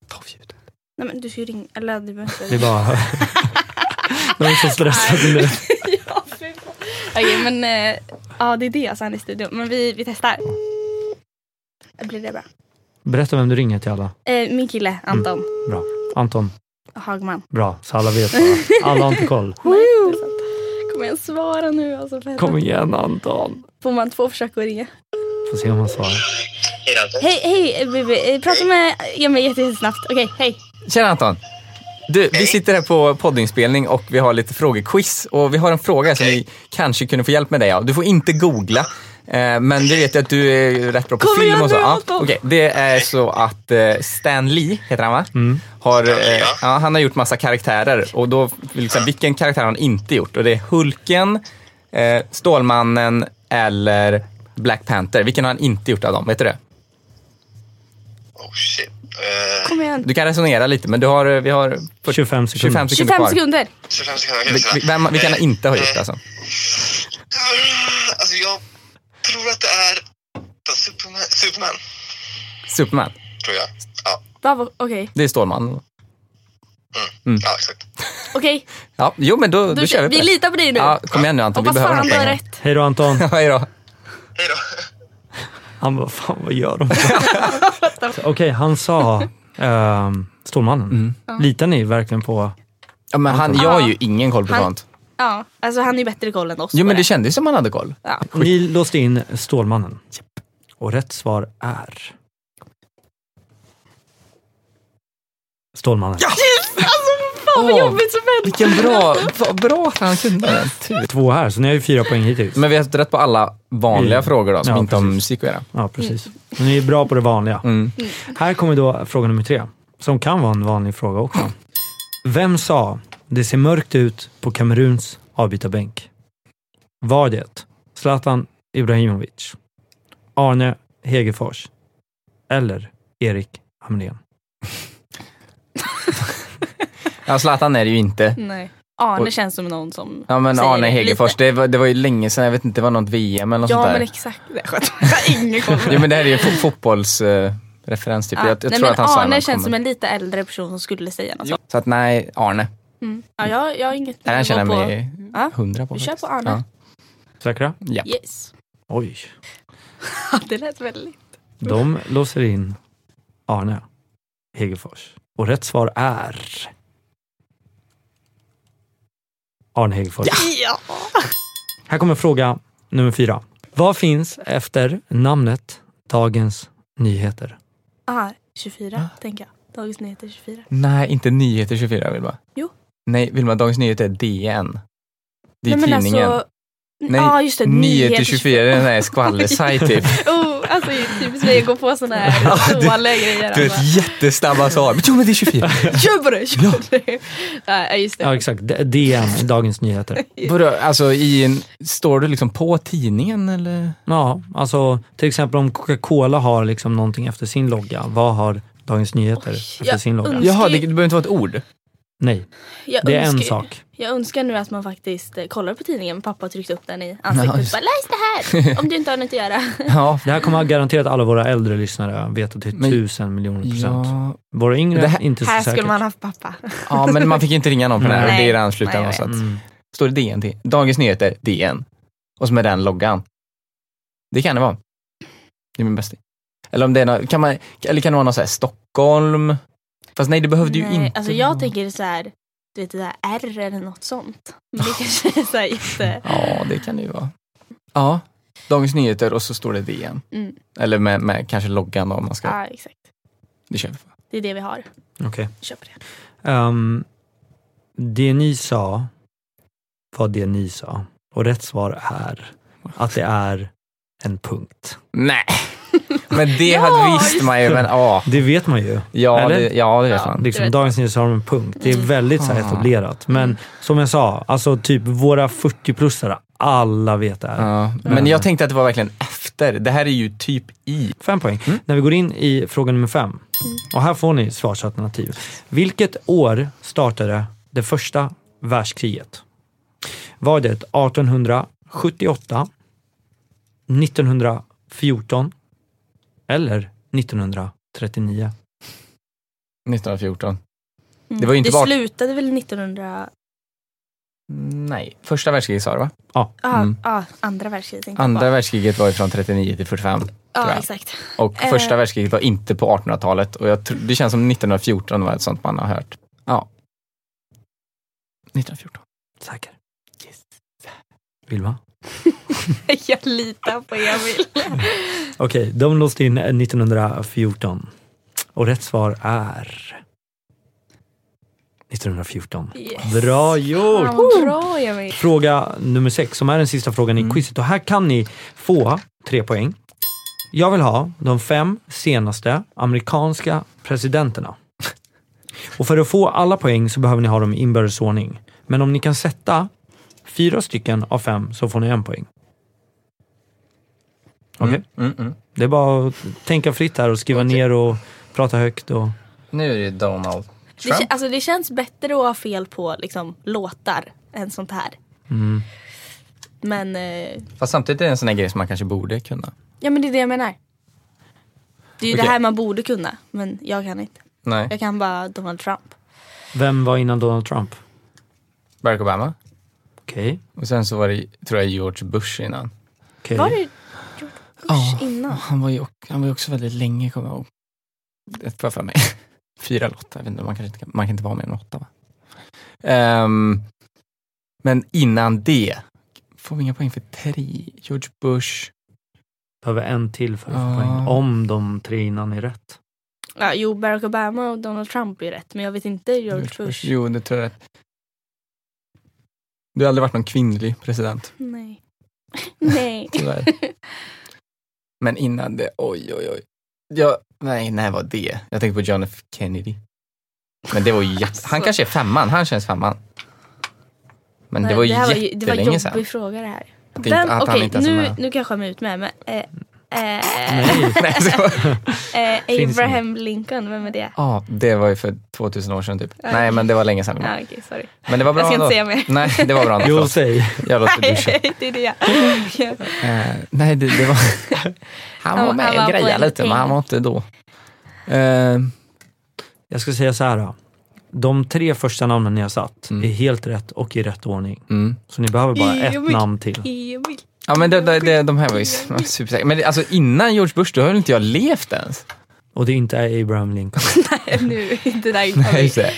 S4: Ta av ljudet.
S3: Nej men du ska ju ringa. Eller du behöver
S1: Det är
S3: inte.
S1: bara... De är så stressade nu.
S3: ja, fy fan. Okej men eh, ja det är det alltså han är i studion. Men vi, vi testar. Blir det bra?
S1: Berätta vem du ringer till alla.
S3: Eh, min
S4: Mm.
S3: kille Anton
S1: Bra. Anton,
S3: Hagman.
S1: bra. Så alla vet bara. Alla har inte koll.
S3: Kommer jag svara nu alltså? För
S1: Kom igen Anton.
S3: Får man två försök att ringa?
S1: Får se om han svarar.
S3: Hej, hej eh, baby. Eh, Prata med Emil jätte- jättesnabbt. Okej, hej.
S4: Tjena Anton! Du, vi sitter här på poddinspelning och vi har lite frågequiz. Och vi har en fråga som vi kanske kunde få hjälp med dig av. Du får inte googla, eh, men vi vet ju att du är rätt bra på
S3: Kom
S4: film
S3: igen
S4: och så.
S3: nu,
S4: Ja,
S3: Anton!
S4: okej. Det är så att eh, Stan Lee, heter han va? Har, eh, ja, han har gjort massa karaktärer. Och då, liksom, vilken karaktär har han inte gjort? Och det är Hulken, eh, Stålmannen eller Black Panther. Vilken har han inte gjort av dem? Vet du det?
S8: Oh shit. Eh,
S3: Kom igen.
S4: Du kan resonera lite, men du har, eh, vi har 40,
S1: 25 sekunder.
S4: 25 sekunder
S3: 25
S4: kvar.
S3: sekunder.
S8: 25 sekunder. okej,
S4: Vi- vi-
S8: sådär.
S4: Vem, vilka han inte har gjort
S8: Eh,
S4: alltså?
S8: eh, Alltså jag tror att det är Superman, Superman
S4: Superman.
S8: tror jag. Ja,
S3: Bravo. Okej.
S4: Det är Stålmannen.
S8: ja exakt.
S3: Okej.
S4: Ja, jo men då, då,
S3: Då
S4: kör vi på
S3: Vi
S4: det.
S3: litar på dig nu.
S4: Ja, kom igen nu Anton, vi
S3: Hoppas
S4: behöver
S3: fan
S4: något
S3: du har
S4: pengar.
S3: rätt.
S1: Hej då Anton.
S4: Hej då.
S8: Hej då.
S1: Han bara, fan vad gör de? Okej, han sa ehm, Stålmannen. Litar ni verkligen på...
S4: Ja, men han, jag har ju ingen koll på
S3: Han-
S4: sånt.
S3: Ja, alltså han är ju bättre koll än oss.
S4: Jo
S3: på
S4: men det kändes som han hade koll.
S3: ja.
S1: Ni låste in Stålmannen. Och rätt svar är... Stålmannen.
S3: Fan vad
S4: Åh.
S3: jobbigt som hände.
S4: Vilken bra, vad bra att han kunde den. Tur.
S1: Två här, så ni har ju fyra poäng hittills.
S4: Men vi har haft rätt på alla vanliga
S1: Mm.
S4: frågor då, som
S1: Ja,
S4: inte har med
S1: precis.
S4: musik att göra.
S1: Ja, precis. Men ni är bra på det vanliga.
S4: Mm.
S1: Här kommer då fråga nummer tre, som kan vara en vanlig fråga också. Vem sa “Det ser mörkt ut på Kameruns avbytarbänk”? Var det Zlatan Ibrahimovic, Arne Hegerfors eller Erik Hamrén?
S4: Ja, Zlatan är det ju inte.
S3: Nej. Arne
S4: Och-
S3: känns som någon som
S4: Ja men
S3: säger
S4: Arne
S3: det
S4: Hegerfors,
S3: lite.
S4: det var, det var ju länge sedan, jag vet inte, det var något VM eller något
S3: Ja
S4: sånt där.
S3: men exakt. Nej, Jag skämtar. Jag har ingen koll.
S4: Jo men det här är ju fo- fotbollsreferens typ.
S3: Ja.
S4: Jag,
S3: Nej,
S4: jag tror
S3: men
S4: att han sa när
S3: Arne
S4: han
S3: känns
S4: kom.
S3: som en lite äldre person som skulle säga något sånt.
S4: Så att nej, Arne.
S3: Mm. Ja, jag, jag har inget
S4: Den här känner jag
S3: jag
S4: mig
S3: Ja.
S4: hundra på.
S3: Vi kör
S4: faktiskt.
S3: på Arne.
S1: Säkra?
S4: Ja.
S3: på. Yes.
S1: Oj.
S3: det lät väldigt.
S1: De låser in Arne Hegerfors. Och rätt svar är... Arne Hegerfors.
S3: Ja.
S1: Här kommer fråga nummer fyra. Vad finns efter namnet Dagens Nyheter?
S3: Aha, 24 Ah,
S4: Ah.
S3: tänker jag. Dagens Nyheter 24.
S4: Nej, inte Nyheter 24 Vilma.
S3: Jo.
S4: Nej, Vilma, Dagens Nyheter är DN. Det är
S3: Nej, men
S4: tidningen.
S3: Alltså, Nej, just det.
S4: Nyheter 24 är den där skvallersajt typ.
S3: Oh, alltså det är typiskt mig att gå på såna här dåliga grejer.
S4: Du
S3: Alltså.
S4: vet, jättesnabba svar. Jo, men det är 24.
S3: Kör på det, kör på det. Nej, just det.
S1: Ja, exakt. D- DN, Dagens Nyheter.
S4: Vadå, alltså i en, står du liksom på tidningen eller?
S3: Mm,
S1: Ja, alltså till exempel om Coca-Cola har liksom någonting efter sin logga. Vad har Dagens Nyheter efter
S3: jag
S1: sin logga?
S3: undrar-
S4: Jaha, det, det behöver inte vara ett ord.
S1: Nej,
S3: Jag
S1: det är en
S3: önskar,
S1: sak.
S3: Jag önskar nu att man faktiskt eh, kollar på tidningen. Pappa tryckte upp den i ansiktet.
S4: Ja,
S3: och
S4: just-
S3: bara, Läs det här om du inte har något att göra.
S4: Ja.
S1: Det här kommer garanterat alla våra äldre lyssnare veta till
S4: Men-
S1: tusen miljoner procent.
S4: Ja.
S1: Våra yngre,
S4: Det här-
S1: inte så
S3: här
S1: säkert.
S3: skulle man haft pappa.
S4: ja, men man fick inte ringa någon på den här.
S3: Nej.
S4: Det är redan
S3: Nej,
S4: slutändan.
S3: jag
S4: Så att,
S1: Mm.
S4: står det DN till? Dagens Nyheter, DN. Och så med den loggan. Det kan det vara. Det är min bästa. Eller om det är något, kan man, eller kan det vara något så här Stockholm? Fast nej, det behövde ju
S3: Nej,
S4: inte
S3: alltså jag
S4: vara.
S3: tänker så här, du vet det där R eller något sånt. Men det kanske är så här jätte...
S4: Ja, det kan det ju vara. Ja, Dagens Nyheter och så står det DN.
S3: Mm.
S4: Eller med, med kanske loggan då, om man ska.
S3: Ja, exakt.
S4: Det kör vi på.
S3: Det är det vi har.
S1: Okej.
S3: Vi Köper det.
S1: Ehm, det ni sa var det ni sa. Och rätt svar är att det är en punkt.
S4: Nej, men det
S3: Ja,
S4: hade
S3: just
S4: visst man ju. Men, ja,
S1: Det vet man ju.
S4: ja,
S1: Eller?
S4: det, ja, det vet
S3: Ja.
S4: man.
S1: Liksom,
S3: vet.
S1: Dagens Nyheter har de en punkt. Det är väldigt så här,
S4: Ah.
S1: etablerat. Men som jag sa, alltså typ våra 40-plussare, alla vet det här.
S4: Ja. Men jag tänkte att det var verkligen efter. Det här är ju typ i.
S1: Fem poäng. När vi går in i fråga nummer fem. Och här får ni svarsalternativ. Vilket år startade det första världskriget? Var det 1878, 1914 eller 1939?
S4: 1914.
S3: Mm.
S4: Det var ju inte
S3: det
S4: bara-
S3: slutade väl 1900...
S4: Nej. Första världskriget sa du va?
S3: Ja,
S4: Mm.
S3: ja, andra världskriget tänkte
S4: Andra
S3: jag på.
S4: världskriget var ju från 39 till 45. tror
S3: Ja,
S4: jag.
S3: exakt.
S4: Och
S3: Eh.
S4: första världskriget var inte på 1800-talet. Och jag tr- det känns som 1914 var ett sånt man har hört. Ja. 1914.
S1: Säker? Vilma?
S3: Jag litar på Emil.
S1: Okej, de låste in 1914. Och rätt svar är 1914.
S3: Yes.
S1: Bra gjort!
S3: Fan, vad bra Emil.
S1: Fråga nummer sex, som är den sista frågan i
S4: Mm.
S1: quizet. Och här kan ni få tre poäng. Jag vill ha de fem senaste amerikanska presidenterna. Och för att få alla poäng så behöver ni ha dem i inbördes ordning. Men om ni kan sätta fyra stycken av fem så får ni en poäng. Okej?
S4: Mm, mm.
S1: Det är bara att tänka fritt här och skriva ner och prata högt. Och...
S4: Nu är det Donald
S3: Det, kä- alltså, det känns bättre att ha fel på liksom, låtar än sånt här.
S4: Mm.
S3: Men, eh,
S4: Fast samtidigt är det en sån här grej som man kanske borde kunna.
S3: ja men det är det jag menar. Det är ju
S4: Okej.
S3: det här man borde kunna, men jag kan inte.
S4: Nej.
S3: Jag kan bara Donald Trump.
S1: Vem var innan Donald Trump?
S4: Barack Obama.
S1: Okej.
S4: Och sen så var det, tror jag, George Bush innan. Eh.
S1: okej.
S3: Var det George Bush innan?
S4: Han var ju, ock- han var ju också väldigt länge, kommer jag ihåg. Det var för mig. Fyra lottar, jag vet inte, man, kanske inte kan, man kan inte vara med en åtta va? Ehm, men innan det, får vi inga poäng för tre. George Bush.
S1: Behöver en till för att få
S4: Ja.
S1: poäng. Om de tre innan är rätt.
S3: Ja, jo, Barack Obama och Donald Trump är ju rätt, men jag vet inte George Bush.
S4: Mm. Jo, det tror jag. rätt. Det har aldrig varit någon kvinnlig president,
S3: Nej. Nej.
S4: tyvärr. men innan det, oj oj oj. Jag, nej, när var det? Jag tänker på John F Kennedy. Men det var ju jätte... Han kanske är femman, han känns femman. Men det var ju
S3: här det var
S4: jättelänge
S3: jobbig
S4: sedan.
S3: fråga det här.
S4: Att inte-
S3: Vem,
S4: att han
S3: okej,
S4: inte Mm. ens är
S3: nu,
S4: med.
S3: nu kanske jag mig ut med, men eh, eh,
S1: Nej.
S4: Nej, så var-
S3: eh,
S1: Finns
S3: Abraham Lincoln, vem är det?
S4: Ja, det var ju för 2000 år sedan typ. Nej, men det var länge sedan.
S3: Ja, okej, sorry.
S4: Men det var bra
S3: Jag ska
S4: ändå.
S3: inte säga mer.
S4: Nej, det var bra. ändå.
S1: Jo,
S4: Förlåt.
S1: säg.
S4: Jag låter Bush.
S3: det är det.
S4: Eh, nej, det, det var... Han
S3: Han-
S4: var
S3: han
S4: med
S3: var
S4: och
S3: på en
S4: grejade lite, men han
S3: ting.
S4: var inte då. Eh,
S1: Jag ska säga så här. Då. De tre första namnen ni har satt är helt rätt och i rätt ordning.
S4: mm.
S1: Så ni behöver bara
S3: Ja,
S1: ett
S3: men-
S1: namn till.
S3: Emil.
S4: Ja, men det, det, det, de här var ju supersäkra. Men det- alltså innan George Bush, då har väl inte jag levt ens?
S1: Och det inte är Abraham Lincoln.
S3: Nej, nu. Det där har vi
S4: det.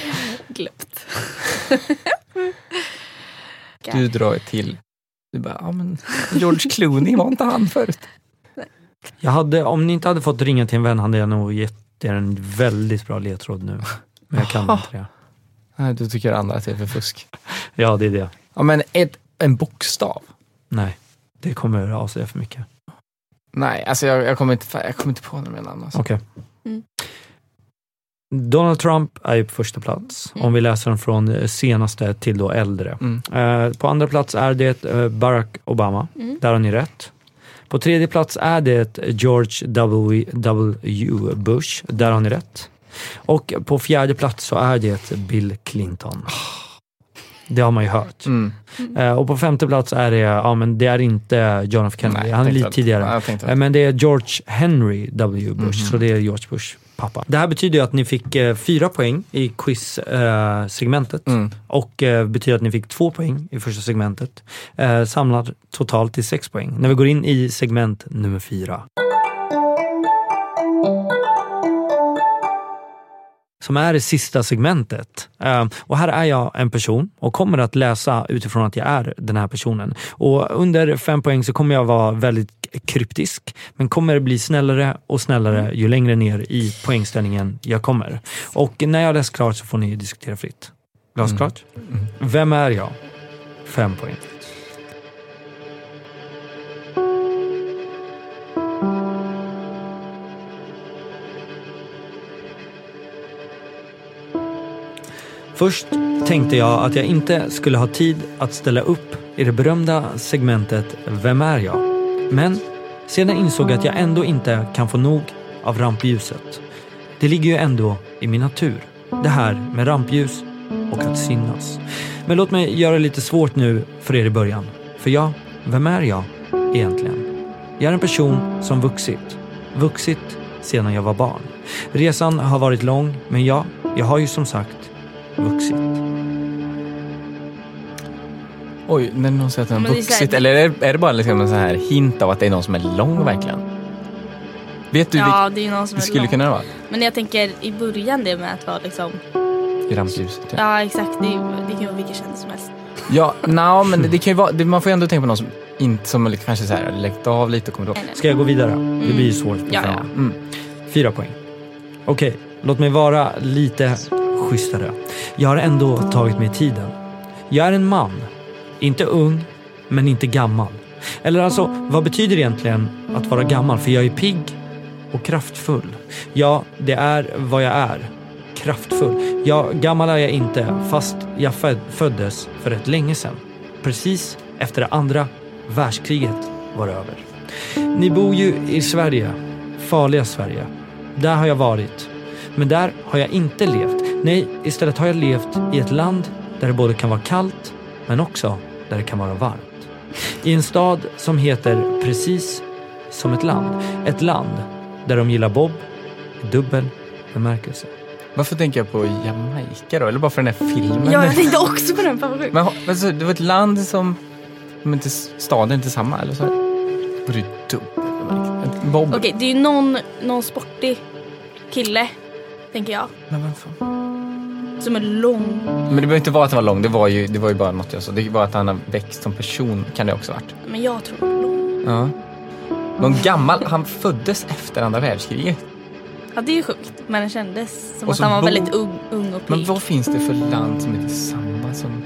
S3: glömt.
S4: Du drar ett till. Du bara, ja men George Clooney, var inte han förut?
S1: Jag hade, om ni inte hade fått ringa till en vän hade jag nog gett er en väldigt bra ledtråd nu. Men jag kan inte det.
S4: Nej, du tycker andra att det är för fusk.
S1: Ja, det är det.
S4: Ja, men ett, en bokstav.
S1: Nej, det kommer att avslöja för mycket.
S4: Nej, alltså jag, jag, kommer, inte, fa- jag kommer inte på några mer namn. Alltså.
S1: Okej.
S3: Mm.
S1: Donald Trump är ju på första plats,
S3: Mm.
S1: om vi läser den från eh, senaste till då äldre.
S4: Mm.
S1: Eh, på andra plats är det eh, Barack Obama.
S3: Mm.
S1: Där har ni rätt. På tredje plats är det George W. W. Bush. Där har ni rätt. Och på fjärde plats så är det Bill Clinton. Det har man ju hört.
S4: Mm.
S1: Eh, och på femte plats är det, ja men det är inte John F Kennedy,
S4: Nej, jag
S1: han är
S4: tänkte
S1: lite
S4: att-
S1: tidigare.
S4: ja, jag tänkte Mm-hmm. att-
S1: Eh, Men det är George Henry W Bush, så det är George Bush pappa. Det här betyder ju att ni fick eh, fyra poäng i quiz-segmentet
S4: Mm.
S1: och eh, betyder att ni fick två poäng i första segmentet. Eh, samlar totalt till sex poäng när vi går in i segment nummer fyra. som är det sista segmentet. Eh, Och här är jag en person och kommer att läsa utifrån att jag är den här personen. Och under fem poäng så kommer jag vara väldigt kryptisk, men kommer bli snällare och snällare ju längre ner i poängställningen jag kommer. Och när jag läst klart så får ni diskutera fritt. Glasklart? Vem är jag? Fem poäng. Först tänkte jag att jag inte skulle ha tid att ställa upp i det berömda segmentet Vem är jag? Men sedan insåg jag att jag ändå inte kan få nog av rampljuset. Det ligger ju ändå i min natur. Det här med rampljus och att synas. Men låt mig göra det lite svårt nu för er i början. För jag, vem är jag egentligen? Jag är en person som vuxit. Vuxit sedan jag var barn. Resan har varit lång, men ja, jag har ju som sagt vuxit.
S4: Oj, när någon säger att den
S3: Men
S4: har
S3: det är så här-
S4: vuxit. Eller är det, är det bara liksom en sån här hint av att det är någon som är lång verkligen? Vet du vilken
S3: Ja, det är ju någon som
S4: det
S3: är
S4: skulle
S3: lång.
S4: kunna vara?
S3: Men jag tänker i början det med att vara liksom...
S4: I rampljuset. Ja,
S3: Ja, exakt. Det, det kan ju vara vilken kändis som helst.
S4: ja nja, men det, det kan ju vara, det, man får ju ändå tänka på någon som, inte, som lite- kanske så här, läckt av lite och kommer ihåg.
S1: Ska jag gå vidare? Det blir ju svårt.
S3: Ja, ja.
S4: Mm.
S1: Fyra poäng. Okej, låt mig vara lite schysstare. Jag har ändå tagit mig tiden. Jag är en man. Inte ung, men inte gammal. Eller alltså, vad betyder egentligen att vara gammal? För jag är pigg och kraftfull. Ja, det är vad jag är. Kraftfull. Ja, gammal är jag inte, fast jag fö- föddes för rätt länge sedan. Precis efter det andra världskriget var över. Ni bor ju i Sverige. Farliga Sverige. Där har jag varit. Men där har jag inte levt. Nej, istället har jag levt i ett land där det både kan vara kallt men också där det kan vara varmt. I en stad som heter precis som ett land. Ett land där de gillar Bob i dubbel bemärkelse.
S4: Varför tänker jag på Jamaica då? Eller bara för den här filmen?
S3: Ja, jag tänkte också på den. Fan vad sjukt.
S4: Men ha- alltså, det var ett land som... Men inte, staden är inte samma, eller så? Var det dubbel? Bob.
S3: Okej, det är ju någon, någon sportig kille, tänker jag.
S4: Men, vem fan?
S3: Som är lång.
S4: men det behöver inte vara att han var lång. Det var ju, det var ju bara något jag sa. Det var att han har växt som person. Kan det också ha varit.
S3: Men jag tror lång.
S4: Ja. Någon gammal. Han föddes efter andra världskriget.
S3: Ja, det är ju sjukt. Men det kändes som
S4: Och
S3: att
S4: så
S3: han var
S4: bo-
S3: väldigt ung, ung och
S4: Men
S3: pigg.
S4: vad finns det för land som inte är samma som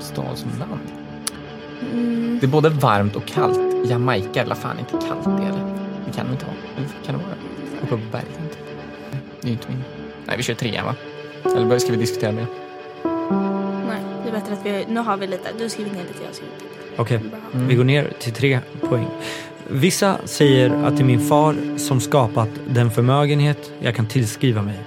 S4: stad som land?
S3: Mm,
S4: Det är både varmt och kallt. Jamaica är la fan inte kallt det eller? Det kan det inte vara. Det kan det vara. Uppe på bergen typ. Det är ju inte min. Nej, vi kör trean va? Eller bör- ska vi diskutera mer?
S3: nej, det är bättre att vi... Nu har vi lite. Du har skrivit ner lite, jag har skrivit lite.
S1: Okej,
S3: Bra.
S1: vi går ner till tre poäng. Vissa säger att det är min far som skapat den förmögenhet jag kan tillskriva mig.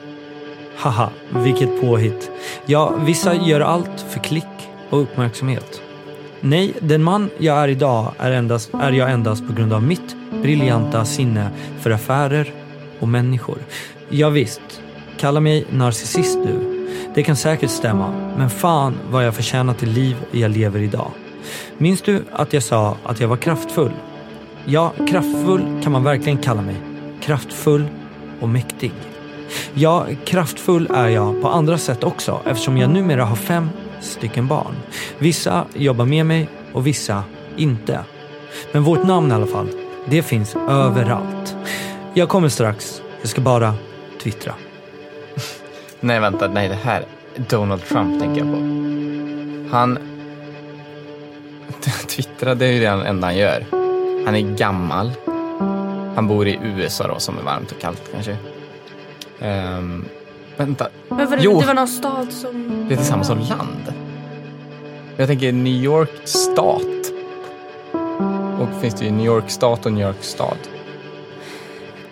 S1: Haha, vilket påhitt. Ja, vissa gör allt för klick och uppmärksamhet. Nej, den man jag är idag är, endast, är jag endast på grund av mitt briljanta sinne för affärer och människor. Ja, visst, kalla mig narcissist du. Det kan säkert stämma, men fan vad jag förtjänar till liv jag lever idag. Minns du att jag sa att jag var kraftfull? Ja, kraftfull kan man verkligen kalla mig. Kraftfull och mäktig. Ja, kraftfull är jag på andra sätt också eftersom jag numera har fem stycken barn. Vissa jobbar med mig och vissa inte. Men vårt namn i alla fall, det finns överallt. Jag kommer strax. Jag ska bara twittra.
S4: Nej, vänta. Nej, det här. Donald Trump tänker jag på. Han twittrade ju det enda han gör. Han är gammal. Han bor i USA då, som är varmt och kallt kanske. Ehm, vänta,
S3: Men var det,
S4: Jo.
S3: det var någon stad som...
S4: det är samma som land. Jag tänker New York stat. Och finns det ju New York stat och New York stad.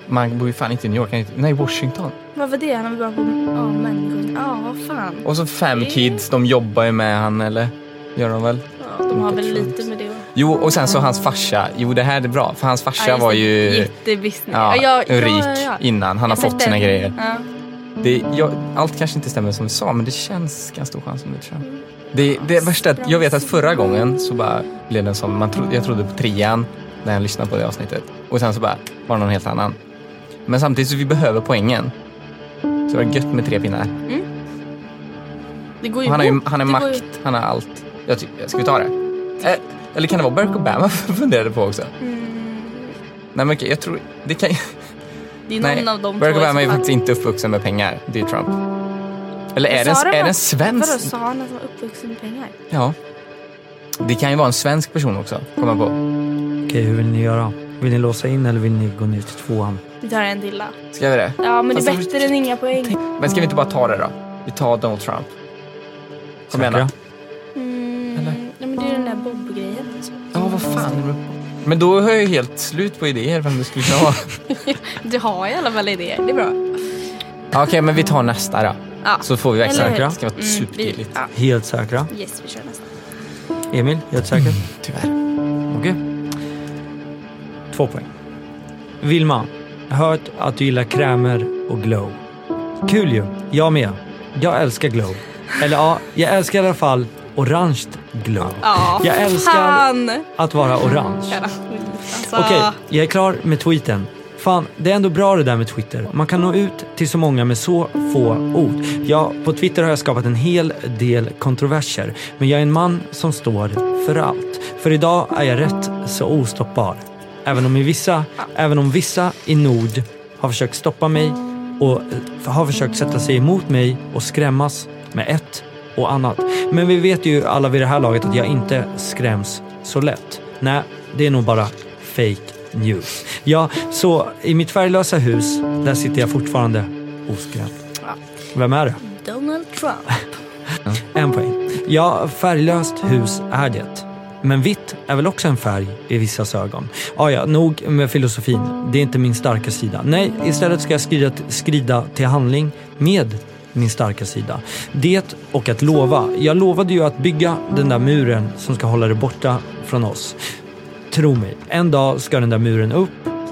S4: Man bor ju fan inte i New York, nej Washington.
S3: Vad var det? Han var bara på... Ja, människor. Ja, vad fan.
S4: Och så fem
S3: Mm.
S4: kids, de jobbar ju med han eller? Gör de väl?
S3: Ja, de har
S4: Olika
S3: väl
S4: Trumps.
S3: lite med det att-
S4: Jo, och sen så hans farsa. Jo, det här är bra. För hans farsa
S3: Ja, just
S4: var
S3: det.
S4: ju
S3: Jättebusiness.
S4: ja,
S3: jag-
S4: rik
S3: ja.
S4: innan. Han
S3: Jag
S4: har fått
S3: sett
S4: sina
S3: den.
S4: grejer.
S3: Ja.
S4: Det, jag, allt kanske inte stämmer som vi sa, men det känns ganska stor chans om det tror jag. Det, det värsta är att jag vet att förra gången så bara blev den som, man tro, jag trodde på trean när jag lyssnade på det avsnittet. Och sen så bara var det någon helt annan. Men samtidigt så vi behöver poängen. Så det var gött med tre pinnar.
S3: Det går ju
S4: Och han, har ju,
S3: ihop.
S4: han har
S3: Det går ju-
S4: makt, han har allt. Jag ty- ska vi ta det? Eh, eller kan det vara Barack Obama funderade på också? Nej men okej, jag tror... Det kan,
S3: Det är Mm. någon
S4: nej,
S3: av dem
S4: Barack
S3: två i
S4: Obama är
S3: så
S4: ju
S3: fall.
S4: faktiskt inte uppvuxen med pengar. Det är ju Trump. Eller är det,
S3: Sa
S4: en, är
S3: att-
S4: det en svensk?
S3: Vadå, sa han att han var uppvuxen med pengar?
S4: Ja. Det kan ju vara en svensk person också, kommer jag på.
S1: Okej, hur vill ni göra? Vill ni låsa in eller vill ni gå ner till tvåan?
S3: Vi tar en till då.
S4: Ska vi det?
S3: Ja, men
S4: Fast
S3: det
S4: han-
S3: är bättre än inga poäng.
S4: Men ska vi inte bara ta det då? Vi tar Donald Trump. Kom igen då.
S1: Säkra?
S3: Mm, ja, men det är ju den där Bob-grejen.
S4: fan. Men då har jag ju helt slut på idéer vem det skulle kunna vara.
S3: Du har i alla fall idéer, det är bra.
S4: Okej, men vi tar nästa då.
S3: Ja.
S4: Så får vi växa.
S3: Eller hur?
S4: Det ska vara
S3: Mm, vi-
S4: supertydligt.
S3: ja.
S1: Helt säkra.
S3: Yes, vi kör nästa.
S1: Emil, helt säker?
S4: Tyvärr.
S1: Okej. Två poäng. Vilma, hört att du gillar krämer och glow. Kul ju. Jag med. Jag älskar glow. Eller ja, jag älskar i alla fall orange glow.
S3: Ja,
S1: jag älskar
S3: fan.
S1: att vara orange.
S3: Kära. Alltså,
S1: Okej, jag är klar med tweeten. Fan, det är ändå bra det där med Twitter. Man kan nå ut till så många med så få ord. Ja, på Twitter har jag skapat en hel del kontroverser. Men jag är en man som står för allt. För idag är jag rätt så ostoppbar. Även om, i vissa, även om vissa i Nord har försökt stoppa mig och eh, har försökt sätta sig emot mig och skrämmas med ett och annat. Men vi vet ju alla vid det här laget att jag inte skräms så lätt. Nej, det är nog bara fake news. Ja, så i mitt färglösa hus, där sitter jag fortfarande oskrämd. Vem är det?
S3: Donald Trump.
S1: En poäng. Ja, färglöst hus är det. Men vitt är väl också en färg i vissas ögon? Ah, ja, nog med filosofin. Det är inte min starka sida. Nej, istället ska jag skrida, skrida till handling med min starka sida. Det och att lova. Jag lovade ju att bygga den där muren som ska hålla det borta från oss. Tro mig, en dag ska den där muren upp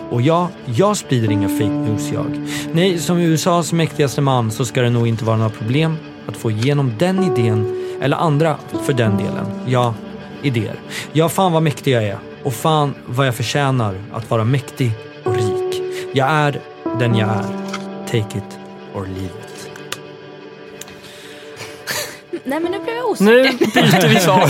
S1: och jag, jag sprider inga fake news jag. Nej, som USAs mäktigaste man så ska det nog inte vara några problem att få igenom den idén, eller andra för den delen. Ja, idéer. Ja, fan vad mäktig jag är och fan vad jag förtjänar att vara mäktig och rik. Jag är den jag är. Take it or leave it.
S3: Nej men nu blev jag osäker.
S4: Nu byter vi svar.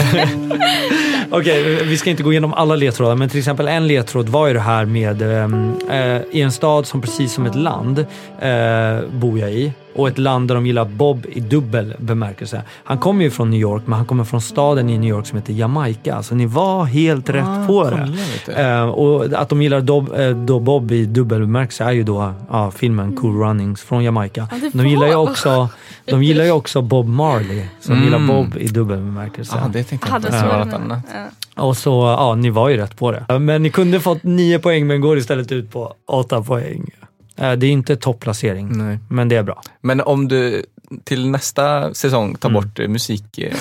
S1: Okej, vi ska inte gå igenom alla ledtrådar, men till exempel en ledtråd var ju det här med ehm, eh, i en stad som precis som ett land eh, bor jag i och ett land där de gillar Bob i dubbel bemärkelse. Han kommer ju från New York, men han kommer från staden i New York som heter Jamaica, så ni var helt rätt på det. Eh, och att de gillar Dob, eh, då Bob i dubbel bemärkelse är ju då ja, filmen Cool Runnings från Jamaica.
S3: Ja, det
S1: De gillar ju
S3: var-
S1: också, de gillar ju också Bob Marley, som
S4: Mm.
S1: gillar Bob i dubbel bemärkelse.
S4: Ja, det tänkte jag
S3: Hade
S4: inte.
S3: så
S4: Det var
S3: var
S4: något
S3: det.
S4: annat.
S3: Ja.
S1: Och så, ja, ni var ju rätt på det. Men ni kunde fått nio poäng men går istället ut på åtta poäng. Eh, Det är inte topplacering,
S4: Nej.
S1: men det är bra.
S4: Men om du till nästa säsong tar bort eh, musikdelen.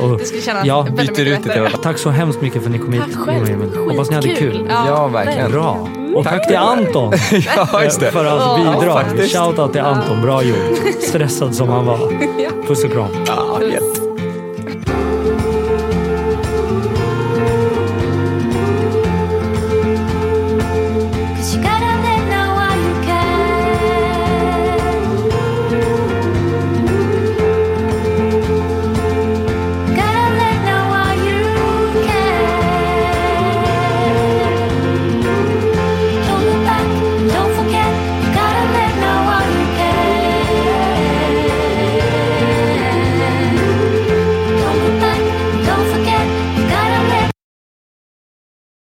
S1: Och,
S3: Jag skulle känna
S1: Ja,
S3: väldigt
S4: byter
S3: mycket
S4: ut det till
S3: bättre.
S4: något.
S1: tack så hemskt mycket för att ni kom hit.
S3: Tack
S1: Johan och
S3: själv.
S1: Emil. Hoppas ni hade kul.
S4: Ja, verkligen.
S1: Bra. Och tack
S4: Tack.
S1: till Anton eh,
S4: Ja, just det.
S1: för
S3: Ja,
S1: hans bidrag.
S4: faktiskt.
S1: Shoutout till Anton, bra gjort. Stressad som han var. Puss och kram.
S4: Ja, jätte-